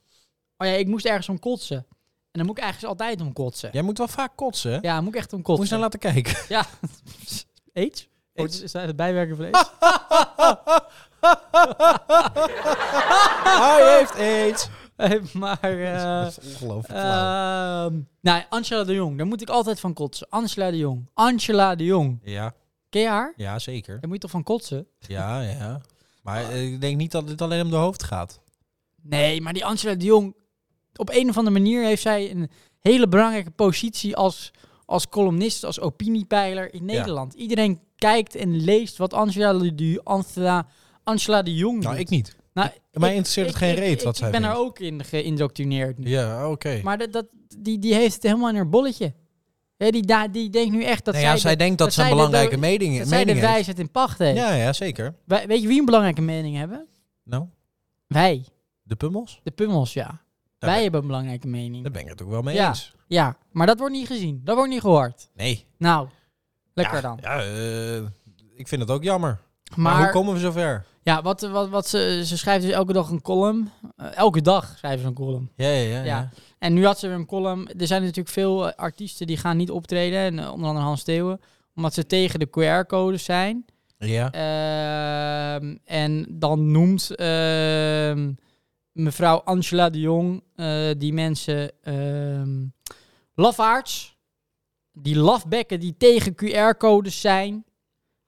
S2: Oh ja, ik moest ergens om kotsen. En dan moet ik ergens altijd om kotsen. Ja,
S1: Jij moet wel vaak kotsen, hè?
S2: moet ik echt om
S1: Moet je
S2: kotsen.
S1: nou laten
S2: *laughs*
S1: kijken. *laughs*
S2: Ja. Aids? Oh,
S1: Aids.
S2: is dat het bijwerken van *laughs* aids?
S1: Hij heeft aids.
S2: Eh, *laughs* maar... eh,
S1: dat is ongelooflijk flauw.
S2: ehm, nou, Angela de Jong. Daar moet ik altijd van kotsen. Angela de Jong. Angela de Jong.
S1: Ja,
S2: Ken je haar?
S1: ja, zeker.
S2: Daar moet je toch van kotsen?
S1: Ja, ja. Maar eh, ik denk niet dat het alleen om de hoofd gaat.
S2: Nee, maar die Angela de Jong, op een of andere manier heeft zij een hele belangrijke positie als, als columnist, als opiniepeiler in Nederland. Iedereen kijkt en leest wat Angela de, Angela, Angela de Jong
S1: Nou,
S2: doet.
S1: ik niet.
S2: Nou,
S1: Mij
S2: ik-
S1: interesseert het
S2: ik-
S1: geen
S2: ik-
S1: reet
S2: ik-
S1: wat zij
S2: Ik ben er
S1: vindt.
S2: ook in geïndoctrineerd nu.
S1: Ja, oké.
S2: Maar dat, dat, die, die heeft het helemaal in haar bolletje. Hè, die, da- die denkt nu echt dat
S1: Nou ja,
S2: zij,
S1: zij
S2: de-
S1: denkt dat,
S2: dat
S1: ze een
S2: zij de-
S1: belangrijke
S2: dat-
S1: mening,
S2: dat zij de
S1: mening heeft.
S2: wijsheid in pacht heeft.
S1: Ja, ja, zeker.
S2: Wij- weet je wie een belangrijke mening hebben?
S1: Nou,
S2: Wij,
S1: de pummels?
S2: de pummels, ja.
S1: Daar
S2: Wij
S1: ben,
S2: hebben een belangrijke mening.
S1: daar ben ik het ook wel mee
S2: Ja.
S1: eens.
S2: Ja, maar dat wordt niet gezien. Dat wordt niet gehoord.
S1: Nee.
S2: Nou, lekker
S1: ja,
S2: dan.
S1: Ja, eh, ik vind het ook jammer. Maar, hoe
S2: Maar,
S1: komen we zover?
S2: ja, wat, wat, wat ze, ze schrijft dus elke dag een column. Eh, elke dag schrijven ze een column.
S1: Ja, ja, ja.
S2: Ja. En nu had ze weer een column. Er zijn natuurlijk veel eh, artiesten die gaan niet optreden. En, eh, onder andere Hans Steeuwen. Omdat ze tegen de QR-codes zijn.
S1: Ja.
S2: Ehm, en dan noemt ehm, mevrouw Angela de Jong eh, die mensen ehm lafaards. Die lafbekken die tegen QR-codes zijn.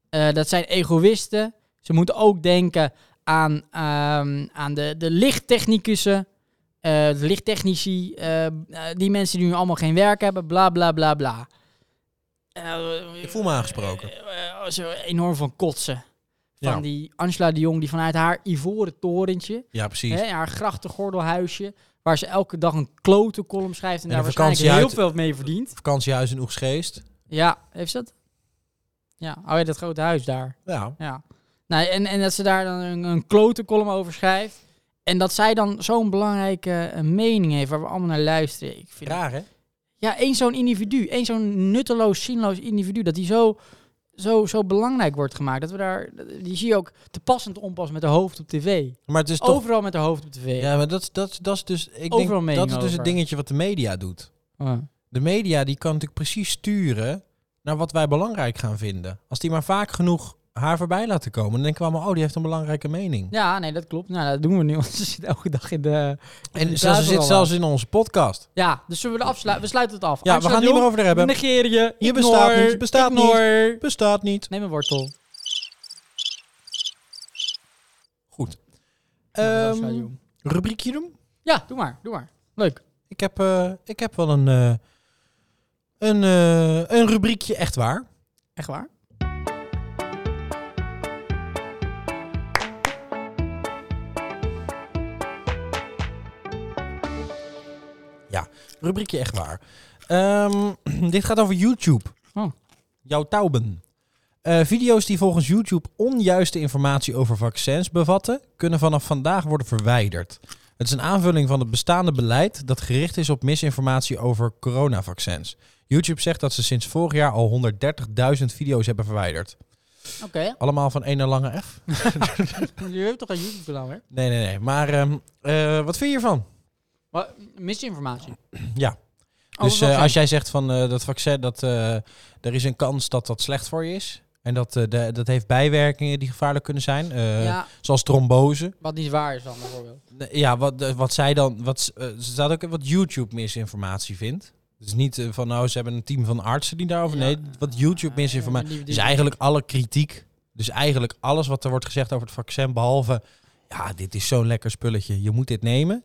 S2: Eh, dat zijn egoïsten. Ze moeten ook denken aan, ehm, aan de, de lichttechnicussen. eh, de lichttechnici, eh, eh, die mensen die nu allemaal geen werk hebben, bla bla bla bla. Eh,
S1: Ik voel me aangesproken.
S2: eh, eh, zo enorm van kotsen. Van
S1: Ja.
S2: die Angela de Jong die vanuit haar ivoren torentje,
S1: Ja, precies.
S2: hè, haar grachtengordelhuisje, waar ze elke dag een klote column schrijft en,
S1: En
S2: daar
S1: een
S2: waarschijnlijk heel
S1: vakantiehuid-
S2: veel mee verdient.
S1: Vakantiehuis in Oegsgeest.
S2: Ja, heeft ze dat? Ja, oh ja, dat grote huis daar.
S1: Ja.
S2: Ja. Nou, en, en dat ze daar dan een, een klote column over schrijft. En dat zij dan zo'n belangrijke eh, mening heeft waar we allemaal naar luisteren. Ik vind
S1: Raar, hè?
S2: ja, één zo'n individu, één zo'n nutteloos, zinloos individu, dat die zo, zo, zo belangrijk wordt gemaakt. Dat we daar, die zie je ook te passend onpas met de hoofd op tv.
S1: Maar het is toch...
S2: Overal met de hoofd op tv.
S1: Ja, maar dat, dat, dat is dus... Ik
S2: Overal
S1: denk, dat
S2: mening
S1: is dus
S2: over.
S1: het dingetje wat de media doet.
S2: Ah.
S1: De media die kan natuurlijk precies sturen naar wat wij belangrijk gaan vinden. Als die maar vaak genoeg haar voorbij laten komen, dan denken we allemaal, oh, die heeft een belangrijke mening.
S2: Ja, nee, dat klopt. Nou, dat doen we nu, *laughs* want ze zit elke dag in de...
S1: en zelfs, ze
S2: praten
S1: zit
S2: wel
S1: zelfs in onze podcast.
S2: Ja, dus zullen we, de afslu- we sluiten het af.
S1: Ja, we gaan het niet meer over haar hebben.
S2: Negeer je.
S1: Je
S2: ignore,
S1: bestaat niet, je bestaat niet.
S2: ignore.
S1: Bestaat niet.
S2: Neem een wortel.
S1: Goed.
S2: Nou,
S1: Ehm,
S2: dat is wel jong.
S1: rubriekje doen?
S2: ja, doe maar, doe maar. Leuk.
S1: Ik heb, eh, ik heb wel een, eh, een, eh, een rubriekje echt waar.
S2: Echt waar?
S1: Rubriekje echt waar. Ehm, *clears throat* dit gaat over YouTube.
S2: Oh.
S1: Jouw touwen. Eh, video's die volgens YouTube onjuiste informatie over vaccins bevatten, kunnen vanaf vandaag worden verwijderd. Het is een aanvulling van het bestaande beleid dat gericht is op misinformatie over coronavaccins. YouTube zegt dat ze sinds vorig jaar al 130.000 video's hebben verwijderd.
S2: Oké.
S1: Allemaal van één lange F?
S2: Je hebt toch een YouTube-kanaal, hè?
S1: Nee, nee, nee. Maar ehm, eh, wat vind je hiervan?
S2: Maar, Misinformatie.
S1: *clears throat* Ja.
S2: Oh,
S1: dus
S2: dat
S1: eh,
S2: was
S1: als jij zegt van eh, dat vaccin, dat eh, er is een kans dat dat slecht voor je is. En dat, eh, de, dat heeft bijwerkingen die gevaarlijk kunnen zijn. eh,
S2: Ja,
S1: Zoals trombose.
S2: wat niet waar is dan, bijvoorbeeld.
S1: Nee, Ja, wat, eh, wat zij dan. Wat, eh, er staat ook wat YouTube misinformatie vindt. Het is niet eh, van nou, ze hebben een team van artsen die daarover.
S2: Ja.
S1: Nee, wat YouTube mis
S2: Ja,
S1: van mij.
S2: die- die-
S1: Dus eigenlijk alle kritiek. Dus eigenlijk alles wat er wordt gezegd over het vaccin, behalve ja, dit is zo'n lekker spulletje. Je moet dit nemen.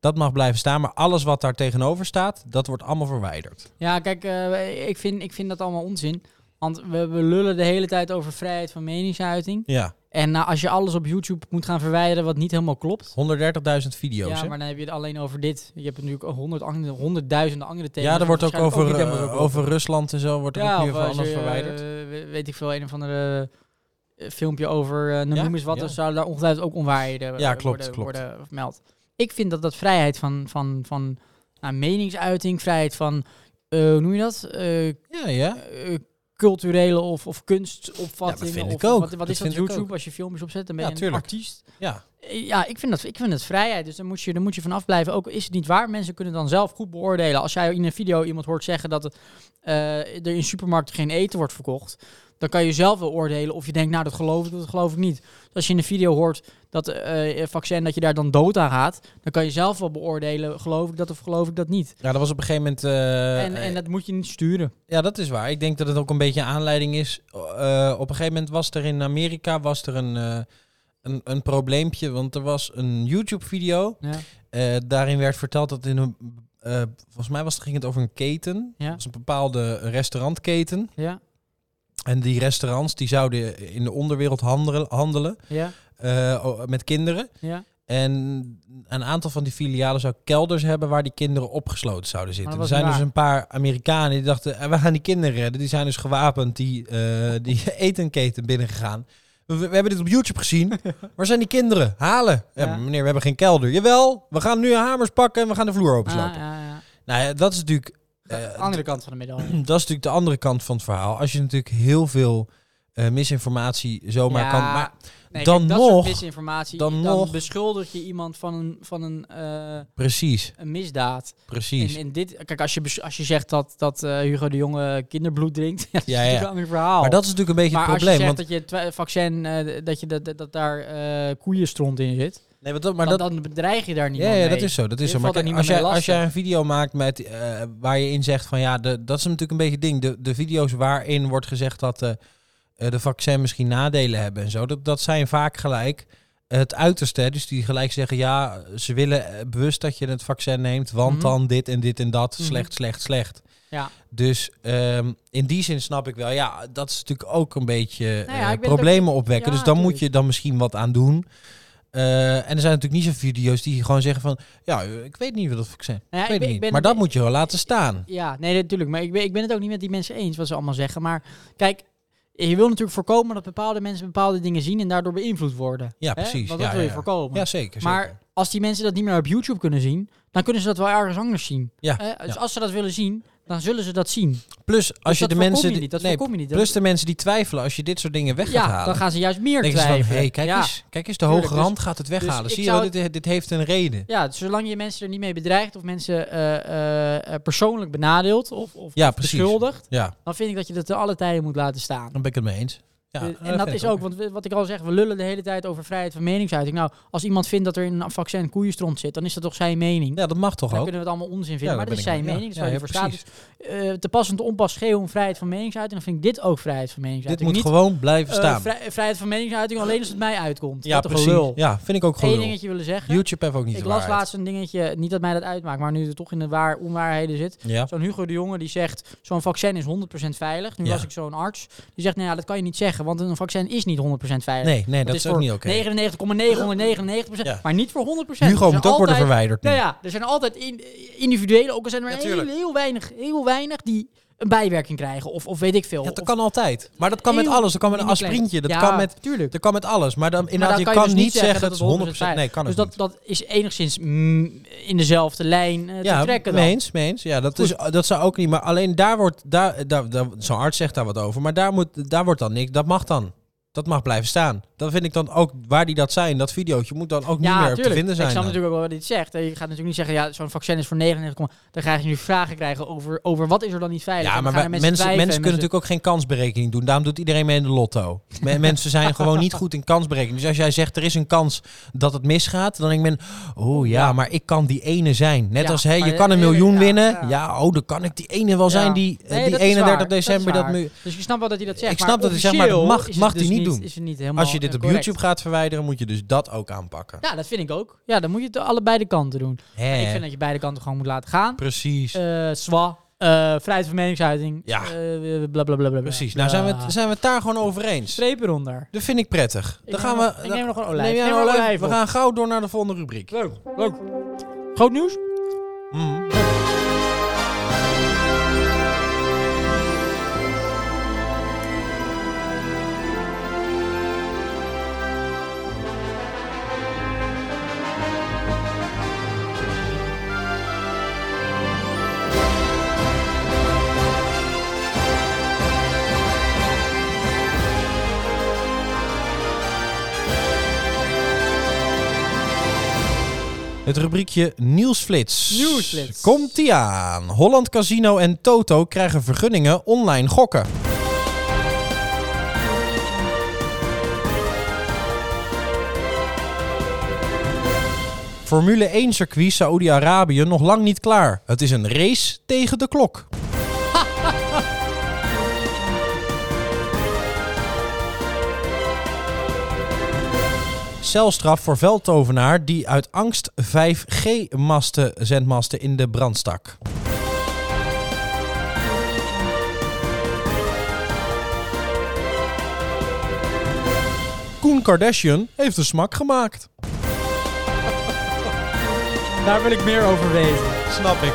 S1: Dat mag blijven staan. Maar alles wat daar tegenover staat, dat wordt allemaal verwijderd.
S2: Ja, kijk, eh, ik, vind, ik vind dat allemaal onzin. Want we, we lullen de hele tijd over vrijheid van meningsuiting.
S1: Ja.
S2: En nou, als je alles op YouTube moet gaan verwijderen wat niet helemaal klopt.
S1: 130.000 video's.
S2: Ja,
S1: hè?
S2: maar dan heb je het alleen over dit. Je hebt natuurlijk ook honderd andere- honderdduizenden andere thema's.
S1: ja, er wordt ook
S2: waarschijnlijk
S1: over,
S2: niet helemaal
S1: eh,
S2: zo klopt.
S1: over Rusland en zo wordt er ook
S2: Ja,
S1: weer
S2: of
S1: van
S2: als
S1: alles
S2: je,
S1: verwijderd.
S2: eh, we- weet ik veel, een of andere eh, filmpje over, eh,
S1: Ja,
S2: noem eens wat.
S1: ja.
S2: Dan zouden daar ongetwijfeld ook onwaarheden eh,
S1: Ja, klopt,
S2: worden,
S1: klopt.
S2: worden vermeld. Ik vind dat dat vrijheid van, van, van nou, meningsuiting, vrijheid van, eh, hoe noem je dat? Eh,
S1: Ja, ja.
S2: eh, culturele of, of kunstopvattingen.
S1: Ja, dat vind
S2: of
S1: ik ook.
S2: Wat, wat
S1: Dat
S2: is dat
S1: vind ik ook.
S2: YouTube? Als je filmpjes opzet, dan ben
S1: Ja,
S2: je een
S1: tuurlijk.
S2: artiest.
S1: ja.
S2: Eh, Ja, ik vind, dat, ik vind dat vrijheid. Dus daar moet je, daar moet je van afblijven. Ook is het niet waar. Mensen kunnen dan zelf goed beoordelen. Als jij in een video iemand hoort zeggen dat het, eh, er in supermarkten geen eten wordt verkocht. Dan kan je zelf wel oordelen of je denkt, nou dat geloof ik, dat geloof ik niet. Dus als je in een video hoort dat eh, eh, vaccin, dat je daar dan dood aan gaat. Dan kan je zelf wel beoordelen, geloof ik dat of geloof ik dat niet.
S1: Ja, nou, dat was op een gegeven moment. eh,
S2: en, en dat moet je niet sturen.
S1: Ja, dat is waar. Ik denk dat het ook een beetje een aanleiding is. Eh, op een gegeven moment was er in Amerika was er een, eh, een, een probleempje. Want er was een YouTube-video.
S2: Ja.
S1: Eh, daarin werd verteld dat in een. eh, volgens mij was het, ging het over een keten.
S2: Ja.
S1: Dat was een bepaalde restaurantketen.
S2: Ja,
S1: En die restaurants die zouden in de onderwereld handelen, handelen
S2: ja,
S1: eh, o- met kinderen.
S2: ja.
S1: En een aantal van die filialen zou kelders hebben waar die kinderen opgesloten zouden zitten. Er
S2: dat was
S1: zijn
S2: niet
S1: dus
S2: waar.
S1: een paar Amerikanen die dachten, "Eh, we gaan die kinderen redden. Die zijn dus gewapend, die, eh die *laughs* etenketen binnengegaan. We, we hebben dit op YouTube
S2: *laughs*
S1: gezien. Waar zijn die kinderen? Halen. Ja,
S2: Ja.
S1: meneer, we hebben geen kelder. Jawel, we gaan nu hamers pakken en we gaan de vloer openslaan.
S2: Ah, ja, ja.
S1: Nou ja, dat is natuurlijk... eh,
S2: Andere kant van de medaille.
S1: *clears throat* dat is natuurlijk de andere kant van het verhaal. Als je natuurlijk heel veel eh, misinformatie zomaar
S2: Ja,
S1: kan... Oh, Maar
S2: nee,
S1: dan
S2: kijk, dat soort
S1: nog-
S2: misinformatie,
S1: dan
S2: dan,
S1: nog-
S2: beschuldig je iemand van een, van een, eh,
S1: precies,
S2: een misdaad. En,
S1: precies.
S2: en dit, kijk, als je, bes- als je zegt dat, dat eh, Hugo de Jonge kinderbloed drinkt, *laughs* ja, dat is
S1: Ja,
S2: natuurlijk
S1: ja.
S2: een ander verhaal.
S1: Maar dat is natuurlijk een beetje
S2: Maar
S1: het
S2: als
S1: probleem.
S2: je zegt
S1: want,
S2: dat je het twa- vaccin, eh, dat, je dat, dat, dat daar eh koeienstront in zit,
S1: nee, want dat, maar
S2: dan,
S1: dat,
S2: dan bedreig je daar niet
S1: Ja, ja, dat is zo. Dat is
S2: Je
S1: zo. Maar
S2: valt daar
S1: kijk, als,
S2: niet meer
S1: jij,
S2: mee
S1: als jij
S2: lastig.
S1: een video maakt met, eh, waar je in zegt van ja, de, dat is natuurlijk een beetje het ding. De, de video's waarin wordt gezegd dat eh, eh, de vaccin misschien nadelen hebben en zo, dat, dat zijn vaak gelijk het uiterste. hè. Dus die gelijk zeggen ja, ze willen eh, bewust dat je het vaccin neemt, want
S2: Mhm.
S1: dan dit en dit en dat,
S2: Mhm.
S1: slecht, slecht, slecht.
S2: Ja.
S1: Dus ehm, in die zin snap ik wel, ja, dat is natuurlijk ook een beetje
S2: Nou
S1: eh,
S2: ja, ik ben het ook
S1: problemen opwekken.
S2: Ja,
S1: dus dan moet
S2: tuurlijk.
S1: je dan misschien wat aan doen. Eh, en er zijn natuurlijk niet zoveel video's die gewoon zeggen van... Ja, eh, ik weet niet wat dat vaccin...
S2: Nou ja,
S1: ik
S2: ik
S1: weet
S2: ben-
S1: niet.
S2: ik ben-
S1: maar dat moet je wel laten staan.
S2: Ja, nee, natuurlijk. Maar ik ben, ik ben het ook niet met die mensen eens wat ze allemaal zeggen. Maar kijk, je wil natuurlijk voorkomen dat bepaalde mensen bepaalde dingen zien en daardoor beïnvloed worden.
S1: Ja,
S2: Hè?
S1: precies.
S2: Want
S1: ja,
S2: dat wil
S1: ja,
S2: je
S1: ja.
S2: voorkomen.
S1: Ja, zeker.
S2: Maar
S1: zeker.
S2: als die mensen dat niet meer op YouTube kunnen zien, dan kunnen ze dat wel ergens anders zien.
S1: Ja,
S2: Hè? dus
S1: ja.
S2: als ze dat willen zien, dan zullen ze dat zien.
S1: Plus, als je
S2: dus dat
S1: de
S2: voorkom
S1: mensen...
S2: je
S1: die-
S2: niet, dat
S1: nee,
S2: voorkom je niet. Dat-
S1: Plus de mensen die twijfelen, als je dit soort dingen weg gaat
S2: ja,
S1: halen...
S2: dan gaan ze juist meer
S1: denken ze van,
S2: twijfelen.
S1: hey, kijk,
S2: ja.
S1: eens, kijk eens, de
S2: Tuurlijk,
S1: hoge
S2: dus-
S1: hand gaat het weghalen.
S2: dus ik
S1: Zie je,
S2: zou
S1: wel, dit, dit heeft een reden.
S2: Ja, dus zolang je mensen er niet mee bedreigt of mensen eh, eh, eh, persoonlijk benadeelt of, of
S1: Ja, precies.
S2: beschuldigt,
S1: Ja,
S2: dan vind ik dat je dat te alle tijden moet laten staan.
S1: dan ben ik het mee eens. Ja,
S2: Eh, en
S1: vind
S2: dat
S1: ik
S2: is ook, want we- wat ik al zeg, we lullen de hele tijd over vrijheid van meningsuiting. Nou, als iemand vindt dat er in een vaccin koeienstront zit, dan is dat toch zijn mening?
S1: Ja, dat mag toch
S2: dan
S1: ook?
S2: kunnen we het allemaal onzin vinden,
S1: ja,
S2: maar
S1: daar
S2: dat is
S1: ben ik
S2: zijn
S1: mee.
S2: mening.
S1: Ja,
S2: Dat is
S1: ja,
S2: waar die voor
S1: precies.
S2: staat. Dus, eh, te passend onpas geel om vrijheid van meningsuiting, dan vind ik dit ook vrijheid van
S1: Dit
S2: meningsuiting.
S1: moet
S2: Niet,
S1: gewoon blijven
S2: eh,
S1: staan.
S2: vrij- vrijheid van meningsuiting alleen als het mij uitkomt.
S1: Ja,
S2: Wat een
S1: precies.
S2: gelul.
S1: Ja, vind ik ook
S2: Eén
S1: gewoon.
S2: dingetje willen zeggen.
S1: YouTube heeft ook niet
S2: ik
S1: de
S2: las
S1: waarheid.
S2: laatst een dingetje, niet dat mij dat uitmaakt, maar nu het toch in de waar onwaarheden zit.
S1: Ja.
S2: Zo'n Hugo de Jonge die zegt, zo'n vaccin is 100% veilig. Nu
S1: Ja.
S2: was ik zo'n arts. Die zegt, nou ja, dat kan je niet zeggen, want een vaccin is niet 100% veilig.
S1: Nee, nee, dat
S2: Het
S1: is ook
S2: voor
S1: niet oké.
S2: 99,999%,
S1: Ja.
S2: maar niet voor 100%. Er
S1: Hugo
S2: zijn
S1: moet ook worden
S2: altijd-
S1: verwijderd nu.
S2: Nou ja, er zijn altijd in, individuele, ook al zijn er
S1: Ja,
S2: heel,
S1: tuurlijk.
S2: heel, weinig, heel weinig die een bijwerking krijgen. Of, of weet ik veel.
S1: Ja, dat
S2: Of-
S1: kan altijd. Maar dat kan met
S2: Heel
S1: alles. Dat kan met een
S2: mini klein.
S1: aspirintje. Dat,
S2: Ja,
S1: kan met,
S2: Tuurlijk.
S1: dat kan met alles. Maar dan, inderdaad,
S2: Maar
S1: je
S2: dan
S1: kan
S2: kan je dus
S1: niet zeggen dat het 100%. Nee, kan
S2: dus
S1: het niet.
S2: dat, dat is enigszins mm, in dezelfde lijn eh,
S1: Ja,
S2: te trekken dan.
S1: mee eens, mee eens. Ja, dat, is, dat zou ook niet. Maar alleen daar wordt... Daar, daar, daar- Zo'n arts zegt daar wat over. Maar daar, moet, daar wordt dan niks... Dat mag dan. Dat mag blijven staan. Dan vind ik dan ook waar die dat zijn, dat videootje moet dan ook niet meer op te vinden zijn.
S2: Ik
S1: dan.
S2: snap natuurlijk ook wel wat dit zegt. Je gaat natuurlijk niet zeggen, ja, zo'n vaccin is voor 99, dan ga je nu vragen krijgen over, over wat is er dan niet veilig.
S1: Ja,
S2: En dan
S1: maar
S2: gaan
S1: wij-
S2: er
S1: mensen, mensen,
S2: twijfelen en
S1: kunnen natuurlijk ook geen kansberekening doen. Daarom doet iedereen mee in de
S2: *laughs*
S1: lotto. Me- mensen zijn gewoon niet goed in kansberekening. Dus als jij zegt er is een kans dat het misgaat, dan denk men, oh ja,
S2: Ja.
S1: maar ik kan die ene zijn. Net
S2: Ja,
S1: als hé,
S2: maar
S1: je
S2: de-
S1: kan een
S2: de-
S1: miljoen
S2: ja,
S1: winnen. Ja.
S2: ja.
S1: oh, dan kan ik die ene wel
S2: Ja.
S1: zijn die, eh,
S2: Nee,
S1: die
S2: dat is
S1: 31
S2: waar. Dat is
S1: december dat
S2: waar.
S1: nu.
S2: Dus ik snap wel dat hij dat zegt.
S1: Ik snap dat hij zegt, maar dat
S2: officieel
S1: mag-
S2: is het
S1: mag hij
S2: dus
S1: niet doen.
S2: Is het niet helemaal
S1: Als je dit
S2: eh,
S1: op
S2: correct.
S1: YouTube gaat verwijderen, moet je dus dat ook aanpakken.
S2: Ja, dat vind ik ook. Ja, dan moet je het allebei de kanten doen.
S1: Hè?
S2: Ik vind dat je beide kanten gewoon moet laten gaan.
S1: Eh. Precies.
S2: Eh zwa, eh, vrijheid van meningsuiting.
S1: Ja.
S2: eh, bla, bla, bla, bla, bla.
S1: Precies. Nou, zijn we, het, zijn we het daar gewoon over eens?
S2: Streep eronder.
S1: Dat vind ik prettig.
S2: Ik
S1: Dan
S2: neem
S1: gaan
S2: nog-
S1: we.
S2: ik neem nog een
S1: dan-
S2: olijf.
S1: Neem jij
S2: Neem
S1: een
S2: nog een
S1: olijf?
S2: olijf
S1: We
S2: op.
S1: gaan gauw door naar de volgende rubriek.
S2: Leuk, leuk. Groot nieuws?
S1: Mhm. Het rubriekje Nieuwsflits.
S2: Nieuwsflits.
S1: Komt-ie aan. Holland Casino en Toto krijgen vergunningen online gokken. Formule 1 circuit Saoedi-Arabië nog lang niet klaar. Het is een race tegen de klok. Celstraf voor veldtovenaar die uit angst 5G-masten zendmasten in de brand stak. Koen Kardashian heeft een smak gemaakt.
S2: Daar wil ik meer over weten.
S1: Snap ik.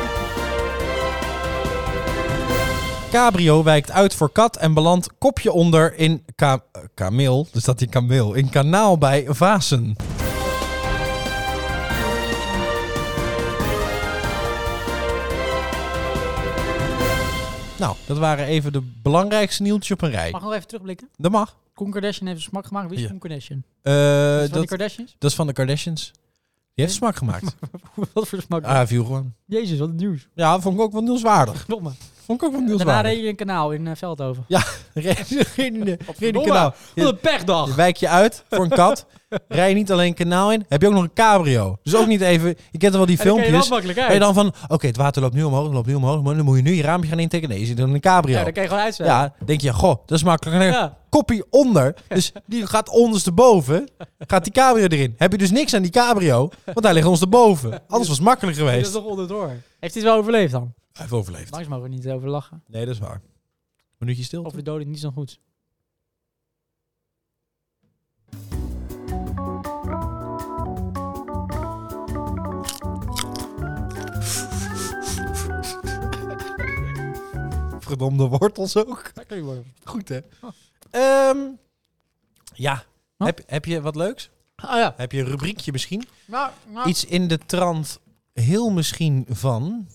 S1: Cabrio wijkt uit voor kat en belandt kopje onder in ka eh, kameel, dus dat die kameel, in kanaal bij Vasen. Nou, dat waren even de belangrijkste nieuwtjes op een rij.
S2: Mag ik nog even terugblikken?
S1: Dat mag.
S2: Koen Kardashian heeft een smak gemaakt. Wie is
S1: Ja.
S2: Koen Kardashian? Is
S1: Eh,
S2: dat van
S1: dat,
S2: die Kardashians? *laughs*
S1: dat is van de Kardashians. Die heeft smaak gemaakt.
S2: Wat voor smak?
S1: Ah, viel gewoon.
S2: Jezus, wat een nieuws.
S1: Ja, vond ik ook wel nieuwswaardig.
S2: Klopt me.
S1: Vond ik ook wel
S2: Daarna
S1: nieuwswaardig.
S2: reed je een kanaal in eh, Veldhoven.
S1: *laughs* Geen
S2: Verdomme,
S1: kanaal.
S2: Wat een
S1: Je
S2: pechdag.
S1: wijk je uit voor een
S2: *laughs*
S1: kat. Rij je niet alleen kanaal in, heb je ook nog een cabrio. Dus ook niet even, je kent wel die
S2: En dan ken je wel
S1: filmpjes.
S2: makkelijk
S1: Ben je
S2: uit.
S1: dan van, oké, het water loopt nu omhoog, loopt nu omhoog, maar dan moet je nu je raampje gaan intikken. Nee, je zit in een cabrio.
S2: Ja,
S1: Ja,
S2: dan kan je gewoon uitzwemmen.
S1: denk je, goh, dat is makkelijk. En dan
S2: Ja.
S1: Koppie onder, dus die gaat ondersteboven, gaat die cabrio erin. Heb je dus niks aan die cabrio, want hij ligt ondersteboven. Anders was het makkelijk
S2: Dat is
S1: geweest.
S2: toch onderdoor. Heeft hij het wel overleefd dan?
S1: Hij heeft overleefd.
S2: Langs mogen we niet over lachen.
S1: Nee, dat is waar. Minuutje stil.
S2: Of we doden niet zo goed.
S1: Verdomde wortels ook.
S2: Lekker worden.
S1: Goed, hè?
S2: Oh.
S1: Ehm, ja.
S2: Huh?
S1: Heb, heb je wat leuks?
S2: Ah ja.
S1: Heb je een rubriekje misschien?
S2: Nou, nou.
S1: Iets in de trant heel misschien van...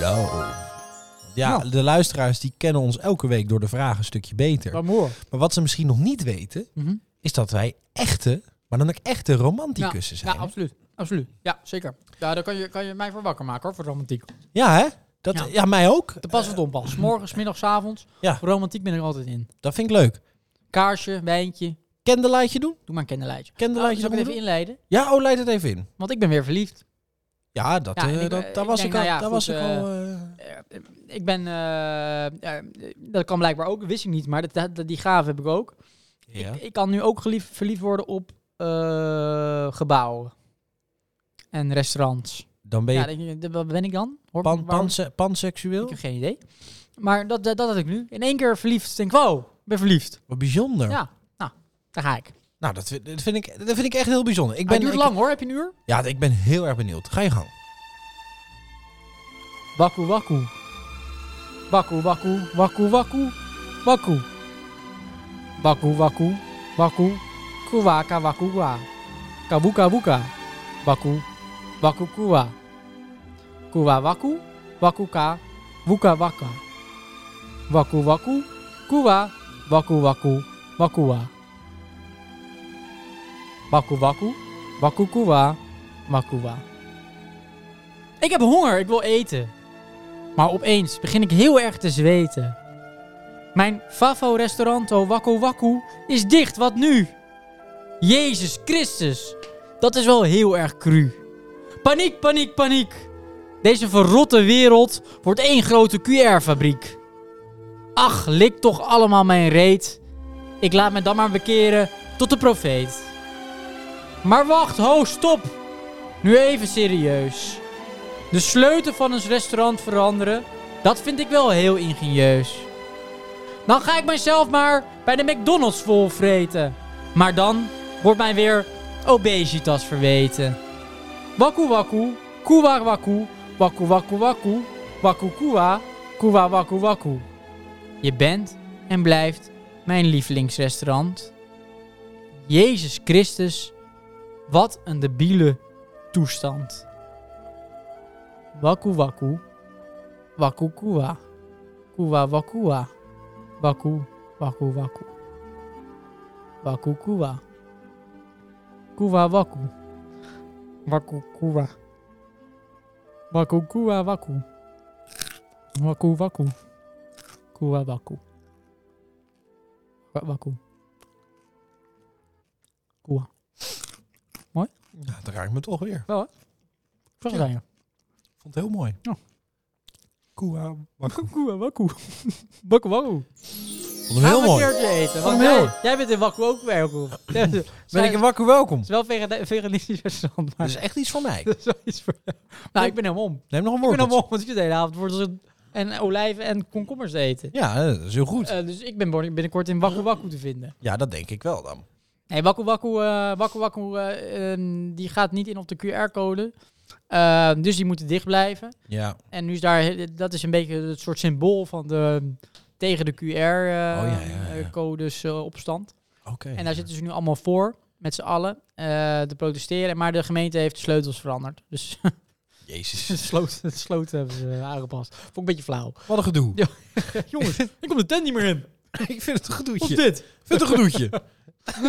S1: Lo. Ja,
S2: Nou.
S1: de luisteraars die kennen ons elke week door de vragen een stukje beter.
S2: Glamour.
S1: Maar wat ze misschien nog niet weten,
S2: Mhm.
S1: is dat wij echte, maar dan ook echte romanticussen zijn.
S2: Ja, absoluut. Absoluut. Ja, zeker. Ja, daar kan je, kan je mij voor wakker maken hoor, voor romantiek.
S1: Ja, hè? Dat, ja.
S2: Ja.
S1: mij ook.
S2: Te pas of onpas. Morgens, middags, avonds.
S1: Ja.
S2: Voor romantiek ben ik altijd in.
S1: Dat vind ik leuk.
S2: Kaarsje, wijntje.
S1: Candlelightje doen?
S2: Doe maar een kinderlijtje.
S1: Candlelightje
S2: Oh, zal ik
S1: doen?
S2: het even inleiden?
S1: Ja, oh, leid het even in.
S2: Want ik ben weer verliefd.
S1: Ja, dat,
S2: Ja, en
S1: eh,
S2: ik,
S1: dat,
S2: eh,
S1: daar
S2: ik
S1: was
S2: denk,
S1: ik al.
S2: nou ja,
S1: daar
S2: goed,
S1: was ik al eh,
S2: Eh, ik ben... eh, eh, dat kan blijkbaar ook. Wist ik niet, maar dat, dat- die gave heb ik ook.
S1: ja.
S2: Ik kan nu ook geliefd, verliefd worden op eh, gebouwen. En restaurants.
S1: Dan ben je
S2: Ja, denk je, de- wat ben ik dan?
S1: pan,
S2: Hoor, waarom-
S1: panse- panseksueel?
S2: Ik heb geen idee. Maar dat, dat, dat had ik nu. In één keer verliefd. Denk ik, wow, ik ben verliefd.
S1: Wat bijzonder.
S2: Ja, nou, daar ga ik. Maar
S1: Nou, dat, vind- dat, vind ik, dat vind ik echt heel bijzonder. Ik ben,
S2: het duurt
S1: ik-
S2: lang hoor, heb je een uur?
S1: Ja, ik ben heel erg benieuwd. Ga je gang.
S2: Wakku wakku. Wakku wakku, wakku wakku, wakku. Wakku wakku, wakku. Kuwa kawaku wa. Kawuka wuka. Wakku, wakku kuwa. Kuwa wakku, wakku ka. Wuka waka. Wakku wakku, kuwa, wakku wakku. Wakua. Waku waku. Wakukua. Wakua. Ik heb honger, ik wil eten. Maar opeens begin ik heel erg te zweten. Mijn favo-restauranto Waku Waku is dicht, wat nu? Jezus Christus, dat is wel heel erg cru. Paniek, paniek, paniek. Deze verrotte wereld wordt één grote QR-fabriek. Ach, lik toch allemaal mijn reet. Ik laat me dan maar bekeren tot de profeet. Maar wacht, ho, stop. Nu even serieus. De sleutel van ons restaurant veranderen, dat vind ik wel heel ingenieus. Dan ga ik mezelf maar bij de McDonald's volvreten. Maar dan wordt mij weer obesitas verweten. Waku waku, kuwa waku, waku waku waku, waku kuwa, kuwa waku waku. Je bent en blijft mijn lievelingsrestaurant. Jezus Christus, wat een debiele toestand. Waku waku, waku kuwa, kuwa wakua, waku waku waku, waku kuwa, kuwa waku, waku kuwa, waku kuwa waku, waku waku, kuwa waku, Wa- waku, kuwa.
S1: Ja, dat raakt me toch weer.
S2: Wel hè? Zo
S1: Ja.
S2: zijn je.
S1: Ik vond het heel mooi.
S2: Ja.
S1: Koeha, wakker.
S2: Kuwa *laughs* waku, waku waku.
S1: Vond hem heel
S2: Gaan we
S1: mooi.
S2: een keertje eten. Want
S1: Vond hem heel
S2: jij, jij bent in Wakku ook
S1: *laughs*
S2: welkom. ben ik
S1: Ben ik Dus- een wakker welkom?
S2: Het is wel vegeta- veganistisch restaurant, maar
S1: Dat is echt iets voor mij.
S2: *laughs* dat is wel iets voor *laughs* jou. Nou, ik ben helemaal om.
S1: Neem nog een
S2: Ik ben helemaal
S1: woord.
S2: om, want ik zit de hele avond wortels en- en olijven en komkommers te eten.
S1: Ja, eh, dat is heel goed.
S2: Eh, dus ik ben binnenkort- binnenkort in Wakku Wakku te vinden.
S1: Ja, dat denk ik wel dan.
S2: Nee, Wakku Wakku, eh, Wakku Wakku eh, ehm, die gaat niet in op de QR-code. Eh, dus die moeten dicht blijven.
S1: Ja.
S2: En nu is daar, dat is een beetje het soort symbool van de tegen de eh,
S1: Oh ja, ja, ja.
S2: QR-codes eh, opstand.
S1: Oké.
S2: En daar zitten ze nu allemaal voor, met z'n allen, eh, te protesteren. Maar de gemeente heeft de sleutels veranderd. *laughs* Dus de
S1: Jezus.
S2: sloot, de sloot hebben ze aangepast. Vond ik een beetje flauw.
S1: Wat een gedoe.
S2: Ja. *laughs* Jongens, ik kom de tent niet meer *laughs* in.
S1: ik vind het een
S2: Of
S1: gedoetje.
S2: dit.
S1: Ik vind het een
S2: *laughs*
S1: gedoetje.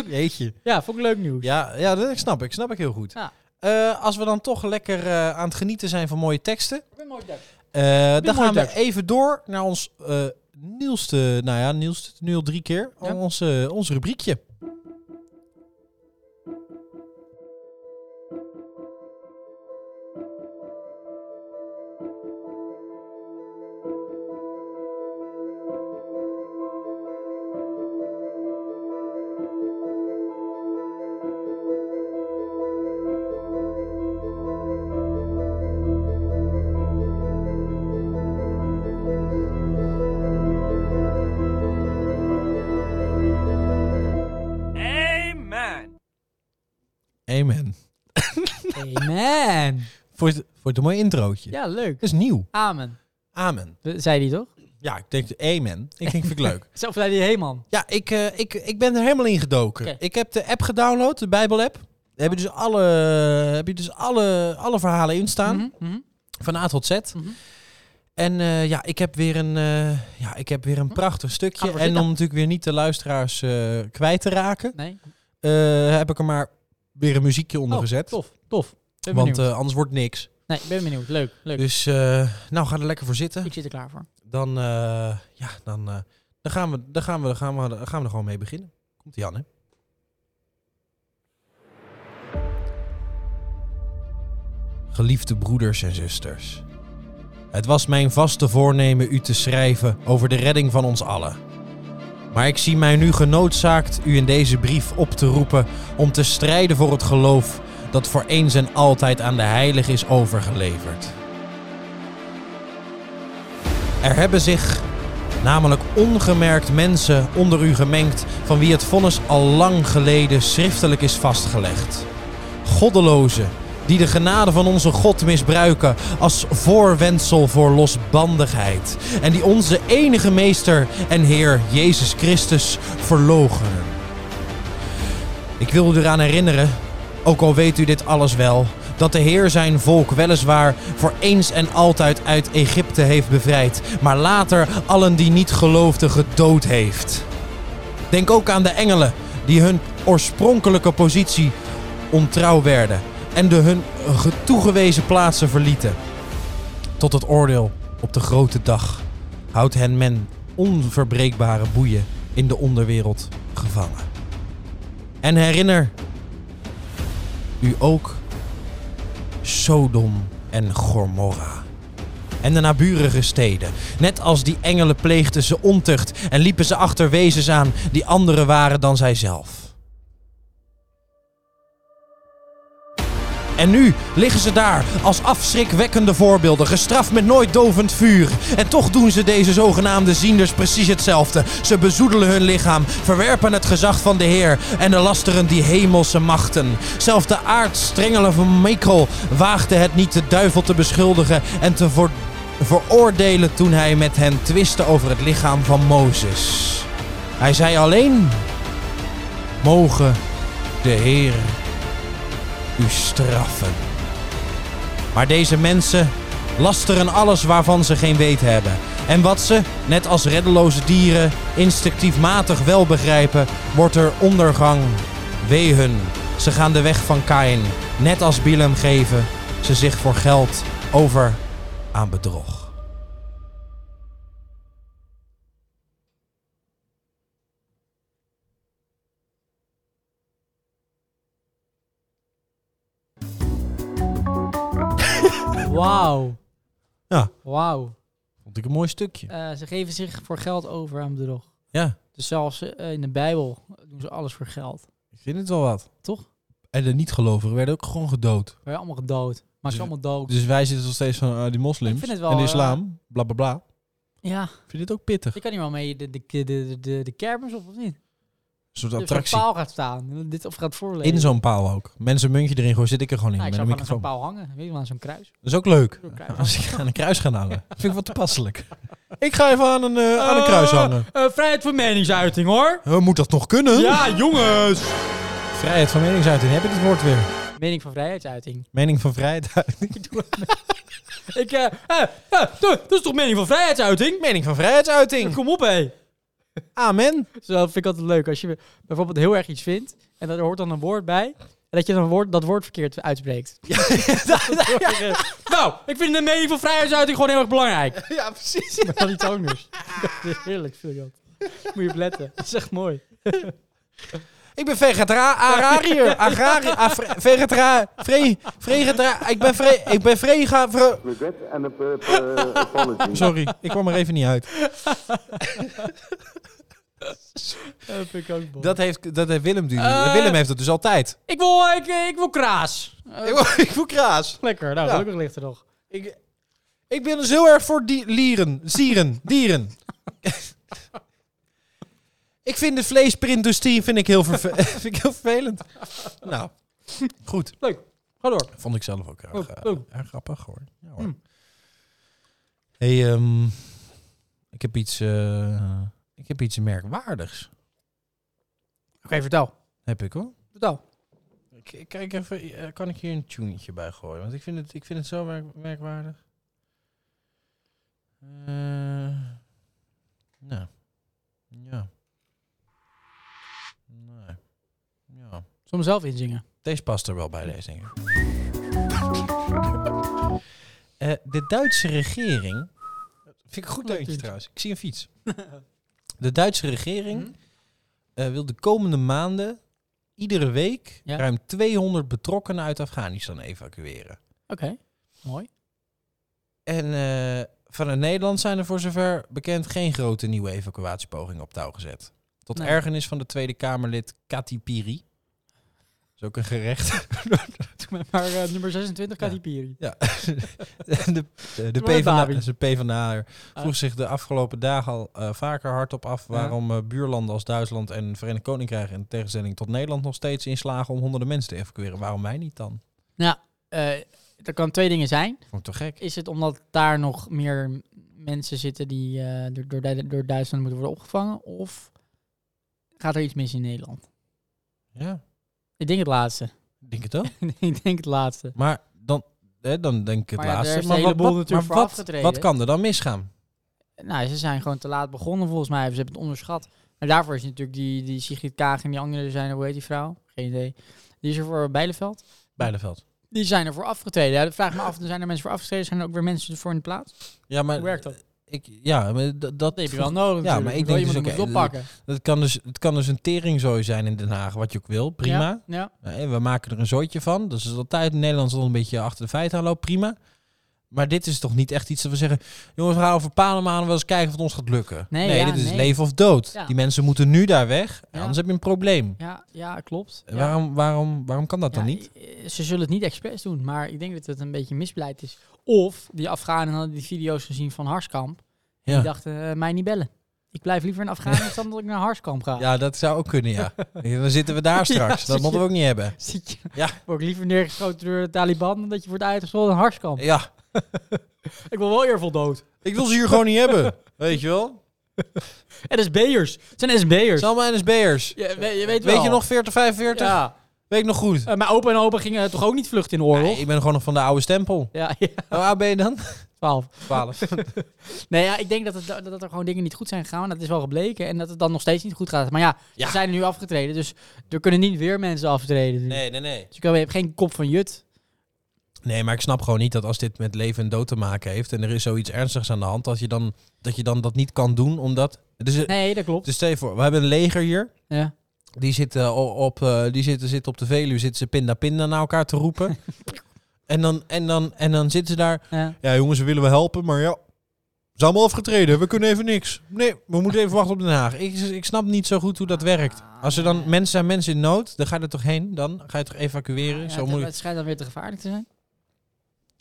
S1: Jeetje.
S2: Ja, vond ik leuk nieuws.
S1: Ja, ja, dat snap ik. Snap ik heel goed.
S2: Ja.
S1: Eh, als we dan toch lekker eh, aan het genieten zijn van mooie teksten.
S2: Ik ben mooi daar.
S1: eh, dan
S2: mooie
S1: gaan we
S2: tekst.
S1: even door naar ons eh, nieuwste, nou ja, nieuwste, nu al drie keer.
S2: Ja.
S1: Ons, eh, ons rubriekje.
S3: Amen.
S1: Amen.
S2: *laughs* Amen.
S1: Vond je het, vond je het een mooi introotje?
S2: Ja, leuk.
S1: Dat is nieuw.
S2: Amen.
S1: Amen.
S2: Zei die toch?
S1: Ja, ik denk amen. Ik denk vind ik
S2: *laughs*
S1: leuk.
S2: Zelf zei die Heeman.
S1: Ja, ik, eh, ik, ik ben er helemaal in gedoken.
S2: Oké.
S1: Ik heb de app gedownload, de Bijbel-app. Daar heb je dus alle, heb je dus alle, alle verhalen in staan,
S2: Mhm, mhm.
S1: van A tot Z.
S2: Mhm.
S1: En eh, ja, ik heb weer een, eh, ja, ik heb weer een prachtig
S2: Ga
S1: stukje.
S2: ervoor
S1: En om
S2: Mhm. zitten.
S1: natuurlijk weer niet de luisteraars eh, kwijt te raken,
S2: Nee.
S1: eh, heb ik er maar weer een muziekje onder
S2: Oh,
S1: gezet.
S2: Tof, tof. Ben
S1: Want
S2: benieuwd.
S1: eh, anders wordt niks.
S2: nee, ik ben benieuwd. Leuk, leuk.
S1: Dus eh, nou, ga er lekker voor zitten.
S2: ik zit er klaar voor.
S1: Dan, eh, ja, dan, eh, dan, gaan we, dan, gaan we, dan, gaan we, dan gaan we er gewoon mee beginnen. Komt Jan, hè? Geliefde broeders en zusters. Het was mijn vaste voornemen u te schrijven over de redding van ons allen. Maar ik zie mij nu genoodzaakt u in deze brief op te roepen om te strijden voor het geloof dat voor eens en altijd aan de heilige is overgeleverd. Er hebben zich namelijk ongemerkt mensen onder u gemengd van wie het vonnis al lang geleden schriftelijk is vastgelegd. Goddelozen die de genade van onze God misbruiken als voorwendsel voor losbandigheid en die onze enige meester en Heer Jezus Christus verloochenen. Ik wil u eraan herinneren, ook al weet u dit alles wel, dat de Heer zijn volk weliswaar voor eens en altijd uit Egypte heeft bevrijd, maar later allen die niet geloofden gedood heeft. Denk ook aan de engelen die hun oorspronkelijke positie ontrouw werden en de hun ge- toegewezen plaatsen verlieten. Tot het oordeel op de grote dag houdt hen men onverbreekbare boeien in de onderwereld gevangen. En herinner u ook Sodom en Gomorra. En de naburige steden. Net als die engelen pleegden ze ontucht en liepen ze achter wezens aan die anderen waren dan zijzelf. En nu liggen ze daar als afschrikwekkende voorbeelden, gestraft met nooit dovend vuur. En toch doen ze deze zogenaamde zienders precies hetzelfde. Ze bezoedelen hun lichaam, verwerpen het gezag van de Heer en de lasteren die hemelse machten. Zelfs de aardstrengelen van Mikkel waagde het niet de duivel te beschuldigen en te voor- veroordelen toen hij met hen twistte over het lichaam van Mozes. Hij zei alleen: Mogen de Heer u straffen. Maar deze mensen lasteren alles waarvan ze geen weet hebben. En wat ze, net als reddeloze dieren, instinctiefmatig wel begrijpen, wordt er ondergang. Wee hun. Ze gaan de weg van Kain, net als Bilam geven ze zich voor geld over aan bedrog.
S2: Wauw.
S1: Ja.
S2: Wauw.
S1: Vond ik een mooi stukje.
S2: Eh, ze geven zich voor geld over aan bedrog.
S1: Ja,
S2: Dus zelfs eh, in de Bijbel doen ze alles voor geld.
S1: ik vind het wel wat.
S2: Toch?
S1: En de niet-gelovigen werden ook gewoon gedood.
S2: We zijn allemaal gedood. Maar ze
S1: Dus-
S2: zijn allemaal dood.
S1: Dus wij zitten nog steeds van eh, die
S2: Ik
S1: moslims
S2: vind het wel,
S1: en de
S2: eh,
S1: islam, bla bla bla.
S2: ja,
S1: Vind je dit ook pittig?
S2: je kan hier wel mee de, de, de, de, de, de kermis op, of niet?
S1: Een soort
S2: Dat
S1: attractie.
S2: paal gaat staan. Dit of gaat voorlezen.
S1: In zo'n paal ook. Mensen muntje erin gooien, zit ik er gewoon in.
S2: Nou, ik
S1: met
S2: zou
S1: een
S2: gewoon aan zo'n
S1: microfoon.
S2: paal hangen. Weet je wel, aan zo'n kruis.
S1: Dat is ook leuk.
S2: Zo'n kruis.
S1: Als ik aan een kruis ga hangen. Vind ik wel toepasselijk. Ik ga even aan een, eh, aan een
S2: Oh.
S1: kruis hangen.
S2: Eh, vrijheid van meningsuiting, hoor.
S1: Eh, moet dat nog kunnen?
S2: jongens.
S1: Vrijheid van meningsuiting. Heb ik het woord weer?
S2: Mening van vrijheidsuiting.
S1: Mening van vrijheid. *laughs*
S2: Ik, eh, eh, eh, dat is toch mening van vrijheidsuiting?
S1: Mening van vrijheidsuiting.
S2: Kom op, hé.
S1: Amen.
S2: Zo vind ik altijd leuk. Als je bijvoorbeeld heel erg iets vindt en daar hoort dan een woord bij. En dat je dan woord, dat woord verkeerd uitspreekt. *laughs* nou, ik vind de mening van vrijheidsuiting gewoon heel erg belangrijk.
S1: Ja, precies.
S2: Maar dan iets anders. Heerlijk vind ik dat. Moet je op letten. Dat is echt mooi.
S1: *laughs* Ik ben vegetariër. Agrariër. Afre- Vegetariër. Vre- Vegetariër. Ik ben vre... Ik ben vrega... vre-
S4: regret and a, p-
S1: *laughs*
S4: p- apology.
S1: Sorry, ik kwam er even niet uit.
S2: Dat vind ik ook mooi.
S1: Dat heeft, dat heeft Willem, dus.
S2: Eh.
S1: Willem heeft dat dus altijd.
S2: Ik, wil, eh, ik, ik wil kraas.
S1: Ik word- *laughs* ik voel kraas.
S2: Lekker, nou
S1: Ja.
S2: gelukkig ligt er nog.
S1: Ik, ik ben dus heel erg voor die, lieren, zieren, dieren. *laughs* ik vind de vleesprintindustrie vind ik heel, verve- *laughs* vind ik heel vervelend. Nou, goed.
S2: Leuk, ga door.
S1: Vond ik zelf ook erg,
S2: Oh,
S1: eh,
S2: oh.
S1: erg grappig hoor. Ja, hoor.
S2: Hmm.
S1: Hey, ehm, ik heb iets, eh, ik heb iets merkwaardigs.
S2: Oké, vertel.
S1: Heb ik hoor.
S2: Vertel.
S1: Ik, ik kijk even, eh, kan ik hier een tunetje bij gooien? Want ik vind het, ik vind het zo merk- merkwaardig. Eh, nou. Ja. Nee. Ja.
S2: Soms zelf inzingen.
S1: Deze past er wel bij, deze denk ik. Eh, de Duitse regering... Vind ik een goed deuntje
S2: tuintje.
S1: trouwens. Ik zie een fiets. De Duitse regering eh, wil de komende maanden iedere week
S2: Ja.
S1: ruim 200 betrokkenen uit Afghanistan evacueren.
S2: Oké, *laughs* mooi.
S1: En eh, vanuit Nederland zijn er voor zover bekend geen grote nieuwe evacuatiepogingen op touw gezet. Tot
S2: Nee.
S1: ergernis van de Tweede Kamerlid Kati Piri. Dat is ook een gerecht.
S2: Doe mij maar eh, nummer 26,
S1: Ja.
S2: Katy Piri.
S1: Ja, *laughs* de, eh, de, de
S2: maar met
S1: PvdA,
S2: Babi.
S1: dat is een PvdA'er
S2: Ah.
S1: vroeg zich de afgelopen dagen al eh, vaker hardop af waarom eh, buurlanden als Duitsland en Verenigd Koninkrijk in tegenstelling tot Nederland nog steeds inslagen om honderden mensen te evacueren. Waarom wij niet dan?
S2: Nou, eh er kan twee dingen zijn.
S1: Vond ik toch gek?
S2: Is het omdat daar nog meer mensen zitten die eh, door, door, Du- door Duitsland moeten worden opgevangen? Of gaat er iets mis in Nederland?
S1: Ja,
S2: Ik denk het laatste. *laughs*
S1: ik denk het ook.
S2: ik denk het laatste.
S1: maar dan, hè, dan denk ik het
S2: Maar ja,
S1: laatste.
S2: daar is een
S1: maar wat,
S2: heleboel
S1: wat-
S2: natuurlijk
S1: maar
S2: voor
S1: wat,
S2: afgetreden.
S1: wat kan er dan misgaan?
S2: Nou, ze zijn gewoon te laat begonnen volgens mij. Ze hebben het onderschat. Maar daarvoor is natuurlijk die, die Sigrid Kaag en die andere zijn er, hoe heet die vrouw? Geen idee. Die is er voor Bijleveld.
S1: Bijleveld.
S2: Die zijn er voor afgetreden. Ja, dat vraag ik me af, zijn er mensen voor afgetreden? Zijn er ook weer mensen voor in de plaats?
S1: Ja, maar
S2: Hoe werkt dat?
S1: Ik, ja, maar dat, dat
S2: Dat heb je wel
S1: Eh,
S2: nodig
S1: Ja,
S2: natuurlijk.
S1: maar ik
S2: Je
S1: denk
S2: wil
S1: dus,
S2: iemand die
S1: oké,
S2: moet oppakken.
S1: *laughs* dat kan dus, het kan dus een teringzooi zijn in Den Haag, wat je ook wil. Prima.
S2: Ja, ja.
S1: Eh, We maken er een zooitje van. Dus het is altijd in Nederland al een beetje achter de feiten aan loopt. Prima. Maar dit is toch niet echt iets dat we zeggen... jongens, we gaan over Panama aan en wel eens kijken of het ons gaat lukken.
S2: Nee, ja,
S1: dit is
S2: nee.
S1: leven of dood.
S2: Ja.
S1: Die mensen moeten nu daar weg.
S2: Ja.
S1: Anders heb je een probleem.
S2: Ja, ja, klopt.
S1: En
S2: Ja.
S1: Waarom, waarom, waarom kan dat dan
S2: Ja,
S1: niet?
S2: eh, Ze zullen het niet expres doen, maar ik denk dat het een beetje misbeleid is. Of die Afghanen hadden die video's gezien van Harskamp. En
S1: Ja.
S2: die dachten, eh, mij niet bellen. Ik blijf liever in
S1: *laughs*
S2: Afghanistan dan dat ik naar Harskamp ga.
S1: ja, dat zou ook kunnen,
S2: *laughs*
S1: ja. dan zitten we daar straks.
S2: zie
S1: dat
S2: je.
S1: moeten we ook niet hebben.
S2: Zit je,
S1: Ja.
S2: Word ik liever neergeschoten door de Taliban dan dat je wordt uitgescholden in Harskamp.
S1: Ja,
S2: Ik wil wel eervol dood.
S1: ik wil ze
S2: *laughs*
S1: hier gewoon niet hebben. Weet je wel?
S2: NSB'ers. Het zijn SB'ers.
S1: Het zijn allemaal NSB'ers.
S2: Je, we- je weet,
S1: Weet
S2: wel.
S1: je nog 40, 45?
S2: Ja.
S1: Weet ik nog goed.
S2: Eh, mijn opa en opa gingen toch ook niet vluchten in de oorlog?
S1: Nee, ik ben gewoon nog van de oude
S2: *laughs*
S1: stempel.
S2: Ja, ja,
S1: Hoe oud ben je dan?
S2: 12.
S1: 12.
S2: Nee, ja, ik denk dat, het, dat dat er gewoon dingen niet goed zijn gegaan. Dat is wel gebleken. En dat het dan nog steeds niet goed gaat. Maar ja,
S1: Ja.
S2: ze zijn er nu afgetreden. Dus er kunnen niet weer mensen aftreden.
S1: Nee, nee, nee.
S2: Dus je, kan, je hebt geen kop van jut.
S1: Nee, maar ik snap gewoon niet dat als dit met leven en dood te maken heeft... en er is zoiets ernstigs aan de hand, dat je dan dat, je dan dat niet kan doen omdat... Dus,
S2: Nee, dat klopt.
S1: dus stel je voor, we hebben een leger hier.
S2: Ja.
S1: Die zitten op, op, eh, die zitten, zitten op de Veluwe, zitten ze pinda pinda naar elkaar te
S2: *laughs*
S1: roepen. en, dan, en, dan, en dan zitten ze daar...
S2: Ja.
S1: Ja, jongens, we willen we helpen, maar ja... Ze zijn allemaal afgetreden, we kunnen even niks. Nee, we moeten even wachten op Den Haag. Ik, ik snap niet zo goed hoe dat werkt. Als er
S2: Ah.
S1: dan mensen zijn mensen in nood, dan ga je er toch heen? Dan ga je toch evacueren?
S2: Ja,
S1: zo
S2: het,
S1: moeilijk.
S2: het schijnt dan weer te gevaarlijk te zijn.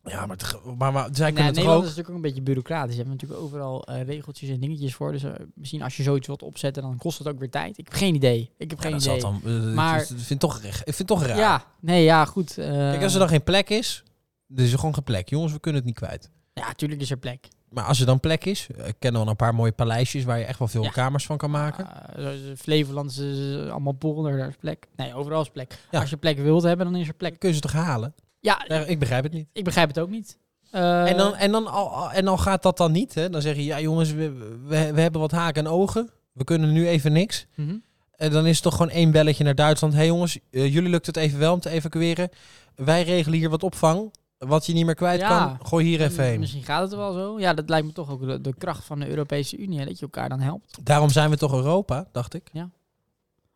S1: Ja, maar, het ge- maar, maar zij
S2: Nou,
S1: kunnen toch
S2: Nederland
S1: ook...
S2: is natuurlijk ook een beetje bureaucratisch. Je hebt natuurlijk overal eh, regeltjes en dingetjes voor. Dus eh, misschien als je zoiets wilt opzetten, dan kost het ook weer tijd. Ik heb geen idee. Ik heb
S1: Ja,
S2: geen
S1: dat
S2: idee.
S1: zal dan, eh,
S2: Maar-
S1: het is- ik vind het toch, reg- ik vind het toch raar.
S2: Ja, nee, ja, goed. eh,
S1: Kijk, als er dan geen plek is, dan is er gewoon geen plek. Jongens, we kunnen het niet kwijt.
S2: Ja, tuurlijk is er plek.
S1: Maar als er dan plek is, eh, ik ken wel een paar mooie paleisjes waar je echt wel veel
S2: Ja.
S1: kamers van kan maken.
S2: Eh, zoals, eh, Flevoland is eh, allemaal polder, daar is plek. Nee, overal is plek.
S1: Ja.
S2: Als je plek wilt hebben, dan is er plek.
S1: Kun je ze toch halen?
S2: Ja,
S1: Ja, Ik begrijp het niet.
S2: ik begrijp het ook niet. Eh,
S1: en, dan, en, dan al, al- en dan gaat dat dan niet. Hè? Dan zeg je, ja jongens, we, we, we hebben wat haken en ogen. We kunnen nu even niks.
S2: mhm.
S1: En dan is het toch gewoon één belletje naar Duitsland. Hé hey jongens, eh, jullie lukt het even wel om te evacueren. Wij regelen hier wat opvang. Wat je niet meer kwijt
S2: Ja. Mm,
S1: kan, gooi hier even heen.
S2: Misschien gaat het wel zo. Ja, dat lijkt me toch ook de, de kracht van de Europese Unie, hè, dat je elkaar dan helpt.
S1: Daarom zijn we toch Europa, dacht ik.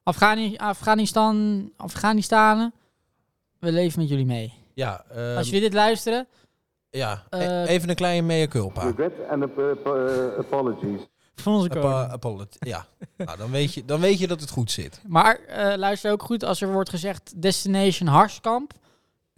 S2: Afghani Afghanistan, Afghanistanen, we leven met jullie mee.
S1: Ja, ehm,
S2: Als jullie dit luisteren,
S1: ja.
S2: eh,
S1: E- even een kleine mea culpa.
S4: Regret and ap- ap- uh, apologies.
S2: van onze koning.
S1: Appa- apology.
S2: *laughs*
S1: Ja, nou, dan, weet je, dan weet je dat het goed zit.
S2: Maar eh, luister ook goed, als er wordt gezegd destination harskamp,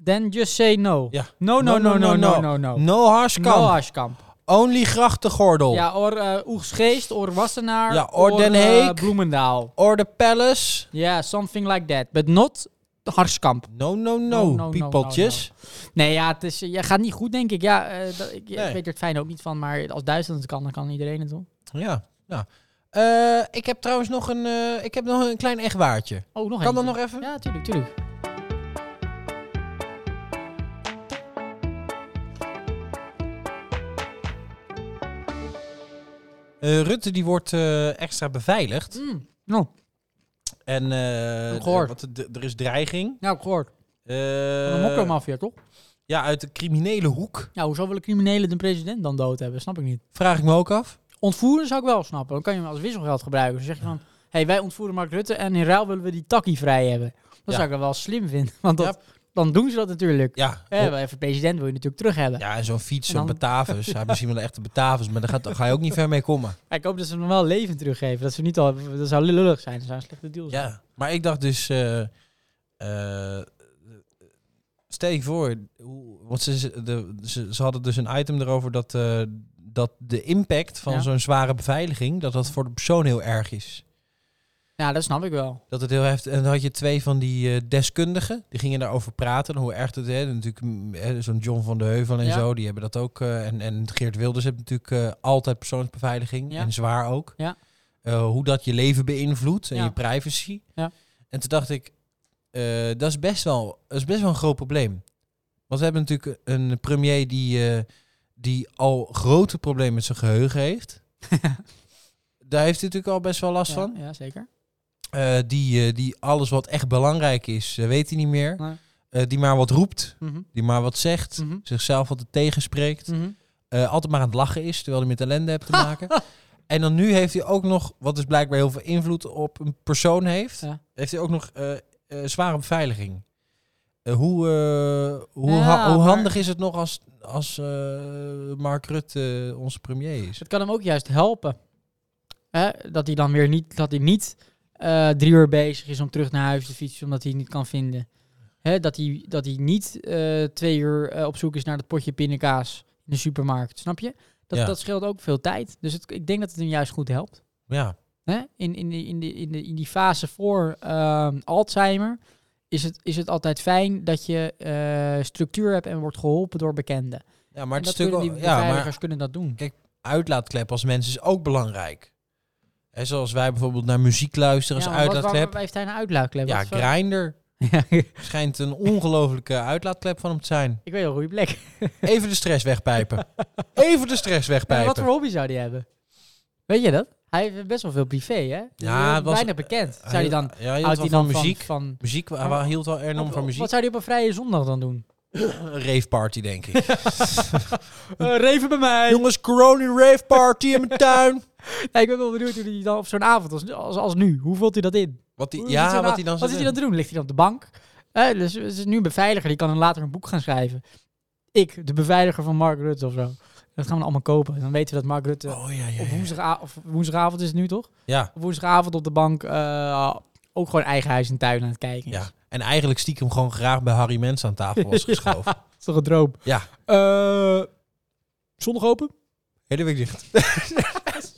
S2: then just say no.
S1: Ja.
S2: No, Oh, no, no, no, no, no, no.
S1: No harskamp.
S2: No harskamp.
S1: Only grachtengordel.
S2: Ja, or eh Oegsgeest, or Wassenaar,
S1: Ja, or Den
S2: eh,
S1: Heek.
S2: Bloemendaal.
S1: Or the palace.
S2: Ja, something like that. But not Harskamp.
S1: No, no,
S2: No,
S1: no,
S2: no, no,
S1: peopletjes.
S2: Nee, ja, het is, eh, je gaat niet goed, denk ik. Ja, eh, dat- ik, ik
S1: Nee.
S2: weet er het fijn ook niet van, maar als Duitsland het kan, dan kan iedereen het doen.
S1: Ja, ja. Eh, ik heb trouwens nog een, eh, ik heb nog een klein echtwaartje.
S2: Oh, nog
S1: Kan
S2: eentje.
S1: dat nog even?
S2: Ja, tuurlijk, tuurlijk.
S1: Eh, Rutte die wordt eh, extra beveiligd.
S2: Mm. Nou,
S1: En eh,
S2: Heb ik gehoord.
S1: wat er- d- er is dreiging.
S2: nou, ik hoor.
S1: Eh,
S2: Van de mokkermafia, toch?
S1: ja, uit de criminele hoek.
S2: Ja, Nou, hoezo willen criminelen de president dan dood hebben? Snap ik niet.
S1: Vraag ik me ook af.
S2: Ontvoeren zou ik wel snappen. Dan kan je hem als wisselgeld gebruiken. Dan zeg je van, hey, wij ontvoeren Mark Rutte en in ruil willen we die takkie vrij hebben. Dat
S1: Ja.
S2: zou ik dan wel slim vinden, *laughs* want dat, dan doen ze dat natuurlijk.
S1: Ja,
S2: Eh, wel even president wil je natuurlijk terug hebben.
S1: Ja, en zo'n fiets,
S2: En
S1: zo'n
S2: dan-
S1: Batavus. Hij heeft misschien wel een echte Batavus, maar daar, gaat, daar ga je ook niet ver mee
S2: *laughs*
S1: komen.
S2: Ja, Ik hoop dat ze hem wel levend teruggeven. Dat ze niet al, dat zou lullig zijn. Dat zou een slechte deal zijn.
S1: Ja, maar ik dacht dus... eh, eh, stel je voor, hoe- want ze, ze- de, ze, ze hadden dus een item erover dat, eh, dat de impact van
S2: Ja.
S1: zo'n zware beveiliging, dat dat voor de persoon heel erg is.
S2: Ja, dat snap ik wel.
S1: Dat het heel heftig. En dan had je twee van die eh, deskundigen. Die gingen daarover praten. en Hoe erg het is. Natuurlijk, mm, hè, zo'n John van de Heuvel en
S2: Ja.
S1: zo. Die hebben dat ook. eh, en, en Geert Wilders heeft natuurlijk eh, altijd persoonsbeveiliging.
S2: Ja.
S1: En zwaar ook.
S2: Ja.
S1: Eh, hoe dat je leven beïnvloedt. En
S2: Ja.
S1: je privacy.
S2: Ja.
S1: En toen dacht ik. eh, dat, is best wel, dat is best wel een groot probleem. Want we hebben natuurlijk een premier
S2: *laughs*
S1: die, eh, die al grote problemen met zijn geheugen heeft. daar heeft hij natuurlijk al best wel last van.
S2: Ja, ja, zeker.
S1: Eh, die, eh, die alles wat echt belangrijk is, eh, weet hij niet meer.
S2: Nee.
S1: Eh, die maar wat roept,
S2: Mhm,
S1: die maar wat zegt,
S2: mhm,
S1: zichzelf altijd tegenspreekt.
S2: mhm.
S1: eh, altijd maar aan het lachen is, terwijl hij met ellende
S2: *laughs*
S1: hebt te maken. En dan nu heeft hij ook nog, wat dus blijkbaar heel veel invloed op een persoon heeft,
S2: Ja.
S1: heeft hij ook nog eh, eh, zware beveiliging. Eh, hoe eh, hoe,
S2: Ja,
S1: ha- hoe
S2: maar-
S1: handig is het nog als, als eh, Mark Rutte eh, onze premier is?
S2: Dus Het kan hem ook juist helpen. Hè? Dat hij dan weer niet, dat hij niet eh, drie uur bezig is om terug naar huis te fietsen, omdat hij het niet kan vinden. Hè? Dat, hij, dat hij niet eh, twee uur eh, op zoek is naar dat potje pindakaas in de supermarkt. Snap je? Dat,
S1: Ja.
S2: dat scheelt ook veel tijd. Dus het, ik denk dat het hem juist goed helpt.
S1: Ja,
S2: Hè? In, in, die- in, die- in, die- in die fase voor ehm, Alzheimer is het, is het altijd fijn dat je eh, structuur hebt en wordt geholpen door bekenden.
S1: ja maar het
S2: en dat
S1: is natuurlijk
S2: kunnen die
S1: wel- ja,
S2: beveiligers
S1: maar
S2: kunnen dat doen.
S1: uitlaatklep als mens is ook belangrijk. En zoals wij bijvoorbeeld naar muziek luisteren als
S2: maar wat- waar-
S1: uitlaatklep.
S2: waar heeft hij een uitlaatklep?
S1: ja,
S2: Wat voor-
S1: Grindr
S2: *laughs* Ja,
S1: schijnt een
S2: *laughs*
S1: ongelofelijke uitlaatklep van hem te zijn.
S2: ik weet wel hoe je
S1: *laughs*
S2: plek.
S1: Even de stress wegpijpen. Even de stress
S2: Maar
S1: wegpijpen.
S2: wat voor hobby zou die hebben? Weet je dat? Hij heeft best wel veel privé, hè?
S1: Ja, het was-
S2: weinig bekend. Zou
S1: Hij-
S2: hij dan,
S1: ja, hij hield
S2: houdt
S1: wel
S2: hij
S1: van
S2: dan
S1: muziek?
S2: Van, van,
S1: Muziek, hij wa- hield wel enorm
S2: wat,
S1: van muziek.
S2: Wat zou hij op een vrije zondag dan doen?
S1: Een rave party, denk
S2: *laughs*
S1: ik. Eh,
S2: reven bij mij.
S1: Jongens, corona rave party in mijn tuin.
S2: ik ben wel benieuwd hoe hij dan op zo'n avond als, als, als nu, hoe vult hij dat in?
S1: Wat die,
S2: Hoe
S1: ja,
S2: zit zo'n
S1: wat
S2: a-
S1: hij dan
S2: Wat
S1: zou
S2: zit hij dan te doen? Ligt hij dan op de bank? Eh, dus het is nu een beveiliger, die kan dan later een boek gaan schrijven. Ik, de beveiliger van Mark Rutte of zo. Dat gaan we dan allemaal kopen. Dan weten we dat Mark Rutte
S1: doen. Oh ja, ja,
S2: op
S1: ja.
S2: woensdaga- of woensdagavond is het nu toch?
S1: ja.
S2: Op woensdagavond op de bank eh, ook gewoon eigen huis en tuin aan het kijken. is.
S1: ja. En eigenlijk stiekem gewoon graag bij Harry Mens aan tafel
S2: *laughs*
S1: was geschoven.
S2: Ja, dat is toch een droom?
S1: Ja.
S2: Eh, zondag open?
S1: Hele week *laughs* dicht.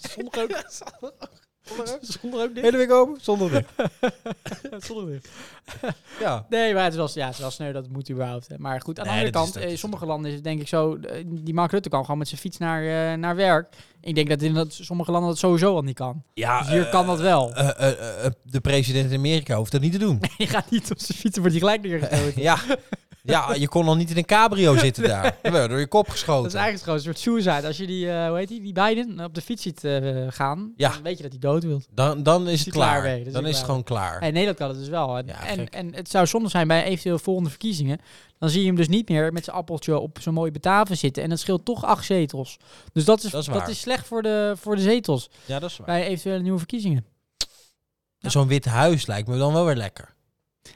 S2: Zondag ook. zondag ook
S1: Hele week open, zonder dicht.
S2: Zondag dicht.
S1: Ja.
S2: Nee, maar het is wel, ja, het is wel sneu, dat moet überhaupt. hè. Maar goed, aan de
S1: Nee,
S2: andere
S1: dat is-
S2: kant,
S1: dat
S2: eh, in
S1: is-
S2: sommige landen is het denk ik zo... eh, Die Mark Rutte kan gewoon met zijn fiets naar, eh, naar werk. Ik denk dat in dat sommige landen dat sowieso al niet kan.
S1: ja
S2: Dus hier
S1: eh,
S2: kan dat
S1: *laughs*
S2: wel.
S1: eh, eh, eh, de president in Amerika hoeft dat niet te doen.
S2: je gaat niet op zijn fiets, wordt je gelijk neergestoten.
S1: *laughs* ja. ja, je kon al niet in een cabrio zitten *laughs* daar. Je werd door je kop geschoten.
S2: Dat is eigenlijk gewoon een soort suicide. Als je die, eh, hoe heet die, die Biden op de fiets ziet eh, gaan,
S1: Ja.
S2: dan weet je dat hij dood wil.
S1: Dan, dan is
S2: Is
S1: het
S2: hij klaar
S1: klaar.
S2: mee, dus
S1: Dan
S2: ik
S1: is het
S2: klaar.
S1: gewoon klaar.
S2: En Nederland kan het dus wel. En,
S1: Ja,
S2: en,
S1: gek.
S2: en het zou zonde zijn bij eventueel volgende verkiezingen. Dan zie je hem dus niet meer met zijn appeltje op zo'n mooie betaven zitten. En dat scheelt toch acht zetels. Dus dat
S1: Dat
S2: is, dat
S1: is
S2: is,
S1: waar.
S2: slecht voor de, voor de zetels
S1: Ja, dat is waar.
S2: bij eventuele nieuwe verkiezingen.
S1: En Zo'n wit huis lijkt me dan wel weer lekker.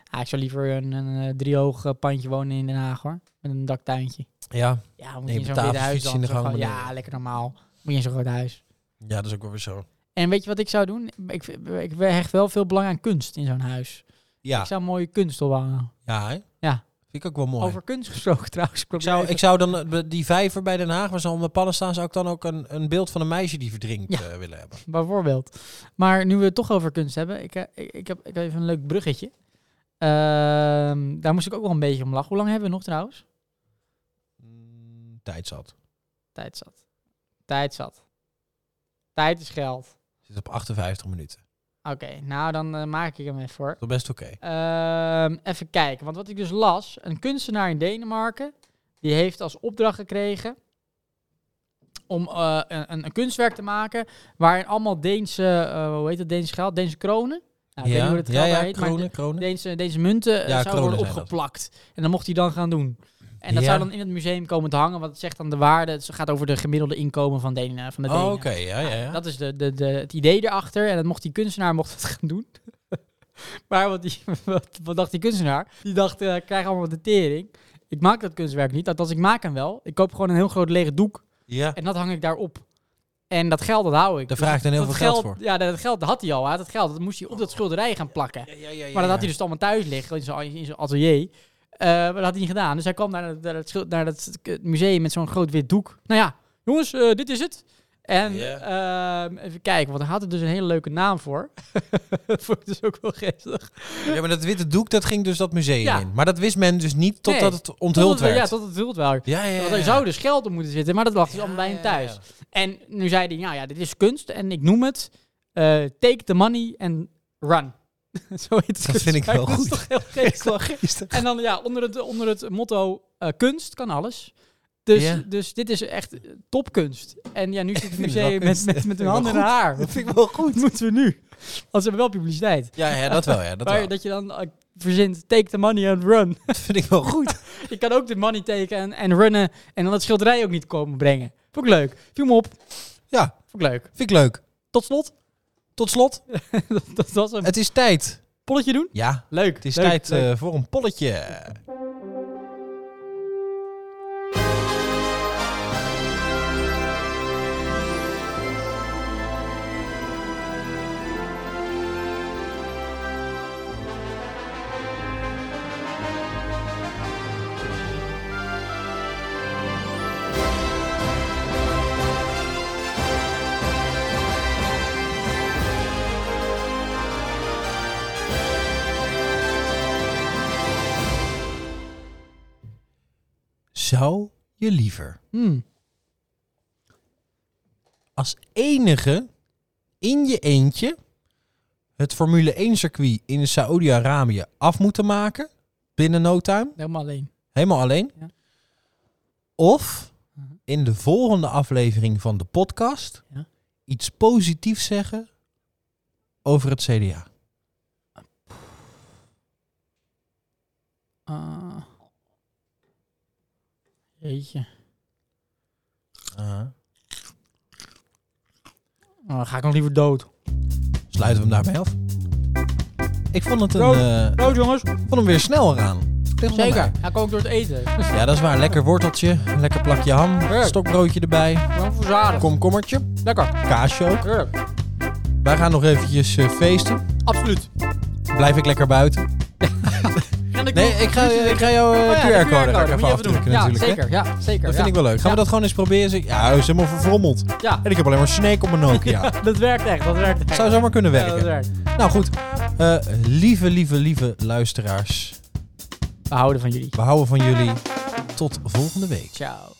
S2: Ah, ik zou liever een, een eh, driehoog eh, pandje wonen in Den Haag hoor. Met een daktuintje.
S1: Ja.
S2: Ja, dan moet
S1: Nee,
S2: je in zo'n
S1: betaven
S2: wit huis
S1: fiets in
S2: dan.
S1: de
S2: Zo
S1: gang
S2: gewoon-
S1: beneden.
S2: ja, lekker normaal. Moet je in zo'n groot huis.
S1: ja, dat is ook wel weer zo.
S2: En weet je wat ik zou doen? Ik, ik hecht wel veel belang aan kunst in zo'n huis.
S1: Ja,
S2: Ik zou mooie kunst ophangen.
S1: ja, hè?
S2: Ja.
S1: Vind ik ook wel mooi.
S2: Over kunst gesproken trouwens.
S1: Ik, zou, ik zou dan eh, be- die vijver bij Den Haag, waar ze allemaal pallen staan, zou ik dan ook een, een beeld van een meisje die verdrinkt
S2: Ja.
S1: eh, willen hebben.
S2: Bijvoorbeeld. Maar nu we het toch over kunst hebben. Ik, eh, ik, ik, heb, ik heb even een leuk bruggetje. Ehm, daar moest ik ook wel een beetje om lachen. Hoe lang hebben we nog trouwens?
S1: Mm, Tijd zat.
S2: Tijd zat. Tijd zat. Tijd is geld.
S1: Zit op 58 minuten.
S2: Oké, nou dan eh, maak ik hem even voor.
S1: Dat is best oké.
S2: Ehm, even kijken, want wat ik dus las, een kunstenaar in Denemarken, die heeft als opdracht gekregen om eh, een, een- een kunstwerk te maken waarin allemaal Deense, eh, hoe heet dat, Deense geld, Deense kronen? Nou, ik weet niet hoe dat geld
S1: ja,
S2: daar
S1: ja,
S2: heet, maar
S1: kronen, kronen.
S2: de- Deense, Deense munten
S1: Ja,
S2: eh, zouden
S1: kronen
S2: worden
S1: zijn dat.
S2: opgeplakt. En dan mocht hij dan gaan doen. En dat
S1: Ja.
S2: zou dan in het museum komen te hangen, want het zegt dan de waarde, het gaat over de gemiddelde inkomen van, Denen, van de Denen.
S1: Oh, oké, ja, ja, ja.
S2: Dat is de, de, de, het idee erachter. En dat mocht die kunstenaar mocht het gaan doen. *laughs* maar wat, die, *laughs* wat, wat dacht die kunstenaar? Die dacht, eh, ik krijg allemaal de tering. Ik maak dat kunstwerk niet. Althans, ik maak hem wel. Ik koop gewoon een heel groot lege doek.
S1: ja.
S2: En dat hang ik daarop. En dat geld, dat hou ik.
S1: Daar
S2: Dus
S1: vraagt
S2: dat-
S1: dan heel
S2: dat
S1: veel geld voor.
S2: Ja, dat geld dat had hij al. Hij had het geld. Dat moest hij op dat schilderij gaan plakken. Maar dat had hij dus allemaal thuis liggen in zijn, in zijn atelier. Eh, maar dat had hij niet gedaan. Dus hij kwam naar, het- naar, het, schil- naar het k- museum met zo'n groot wit doek. Nou ja, jongens, eh, dit is het. En ehm, even kijken, want hij had er dus een hele leuke naam voor. *laughs* Vond ik dus ook wel geestig.
S1: Ja, maar dat witte doek, dat ging dus dat museum
S2: Ja.
S1: in. Maar dat wist men dus niet totdat
S2: Nee,
S1: het onthuld
S2: Tot het-
S1: werd.
S2: Ja, tot het onthuld werd.
S1: ja, ja,
S2: Want
S1: ja.
S2: er zou dus geld op moeten zitten, maar dat lag dus
S1: Ja,
S2: allemaal bij hem
S1: ja, ja, ja.
S2: thuis. En nu zei hij, nou ja, dit is kunst en ik noem het eh, Take the Money and Run. *laughs* Zo heet het
S1: Dat vind ik wel
S2: kunstwerk. Dat
S1: goed.
S2: is
S1: *laughs*
S2: toch heel geestig.
S1: Is dat-
S2: En dan ja, onder het, onder het motto eh, kunst kan alles. Dus,
S1: Ja.
S2: dus dit is echt eh, topkunst. En
S1: *laughs*
S2: ja, nu zit het
S1: vind het
S2: museum
S1: wel
S2: met,
S1: kunst.
S2: met, met
S1: vind
S2: hun
S1: ik
S2: handen in
S1: wel
S2: haar.
S1: Dat vind ik wel goed.
S2: Wat moeten we nu? Want ze hebben wel publiciteit.
S1: Ja, ja dat wel. Ja, dat,
S2: *laughs* maar
S1: wel.
S2: dat je dan eh, verzint, take the money and run. *laughs*
S1: dat vind ik wel goed.
S2: je kan ook de money taken en, en runnen en dan het schilderij ook niet komen brengen. Vond ik leuk. Viel me op.
S1: Ja,
S2: Vond ik leuk. *laughs*
S1: vind ik leuk.
S2: Tot slot,
S1: Tot
S2: *laughs*
S1: slot,
S2: dat, dat was een
S1: het is tijd.
S2: polletje doen.
S1: Ja,
S2: Leuk.
S1: het is
S2: leuk,
S1: tijd
S2: leuk.
S1: eh, voor een polletje. Zou je liever
S2: Hmm.
S1: als enige in je eentje het Formule 1 circuit in Saoedi-Arabië af moeten maken binnen no time,
S2: Helemaal alleen.
S1: helemaal alleen?
S2: Ja.
S1: Of
S2: Mhm.
S1: in de volgende aflevering van de podcast
S2: Ja.
S1: iets positiefs zeggen over het CDA?
S2: Ah. Jeetje.
S1: Nou,
S2: Oh, dan ga ik nog liever dood.
S1: Sluiten we hem daarmee af? Ik vond het een,
S2: Rood.
S1: eh,
S2: Dood, jongens.
S1: vond hem weer snel eraan. Tegen elkaar.
S2: Zeker. Ga ik ook door het eten.
S1: Ja, dat is waar. Lekker worteltje, lekker plakje ham,
S2: Heerlijk.
S1: stokbroodje erbij,
S2: Gewoon verzadigd.
S1: komkommertje,
S2: Lekker.
S1: kaasje ook.
S2: Heerlijk.
S1: Wij gaan nog eventjes eh, feesten.
S2: Absoluut.
S1: Blijf ik lekker buiten.
S2: En ik
S1: Nee, ik ga, ik ga jouw
S2: Oh
S1: eh, QR-code er even afdrukken
S2: Ja,
S1: natuurlijk. hè.
S2: zeker. Ja, zeker.
S1: Dat
S2: ja.
S1: vind ik wel leuk. Gaan we
S2: Ja.
S1: dat gewoon eens proberen? Zeg- Ja, hij is helemaal verfrommeld.
S2: Ja.
S1: En ik heb alleen maar snake op mijn
S2: *laughs*
S1: Nokia.
S2: Dat werkt echt. Dat werkt echt.
S1: Zou zomaar kunnen
S2: Ja, dat
S1: werken.
S2: werkt.
S1: Nou goed, eh, lieve, lieve, lieve luisteraars.
S2: We houden van jullie.
S1: We houden van jullie. Tot volgende week.
S2: Ciao.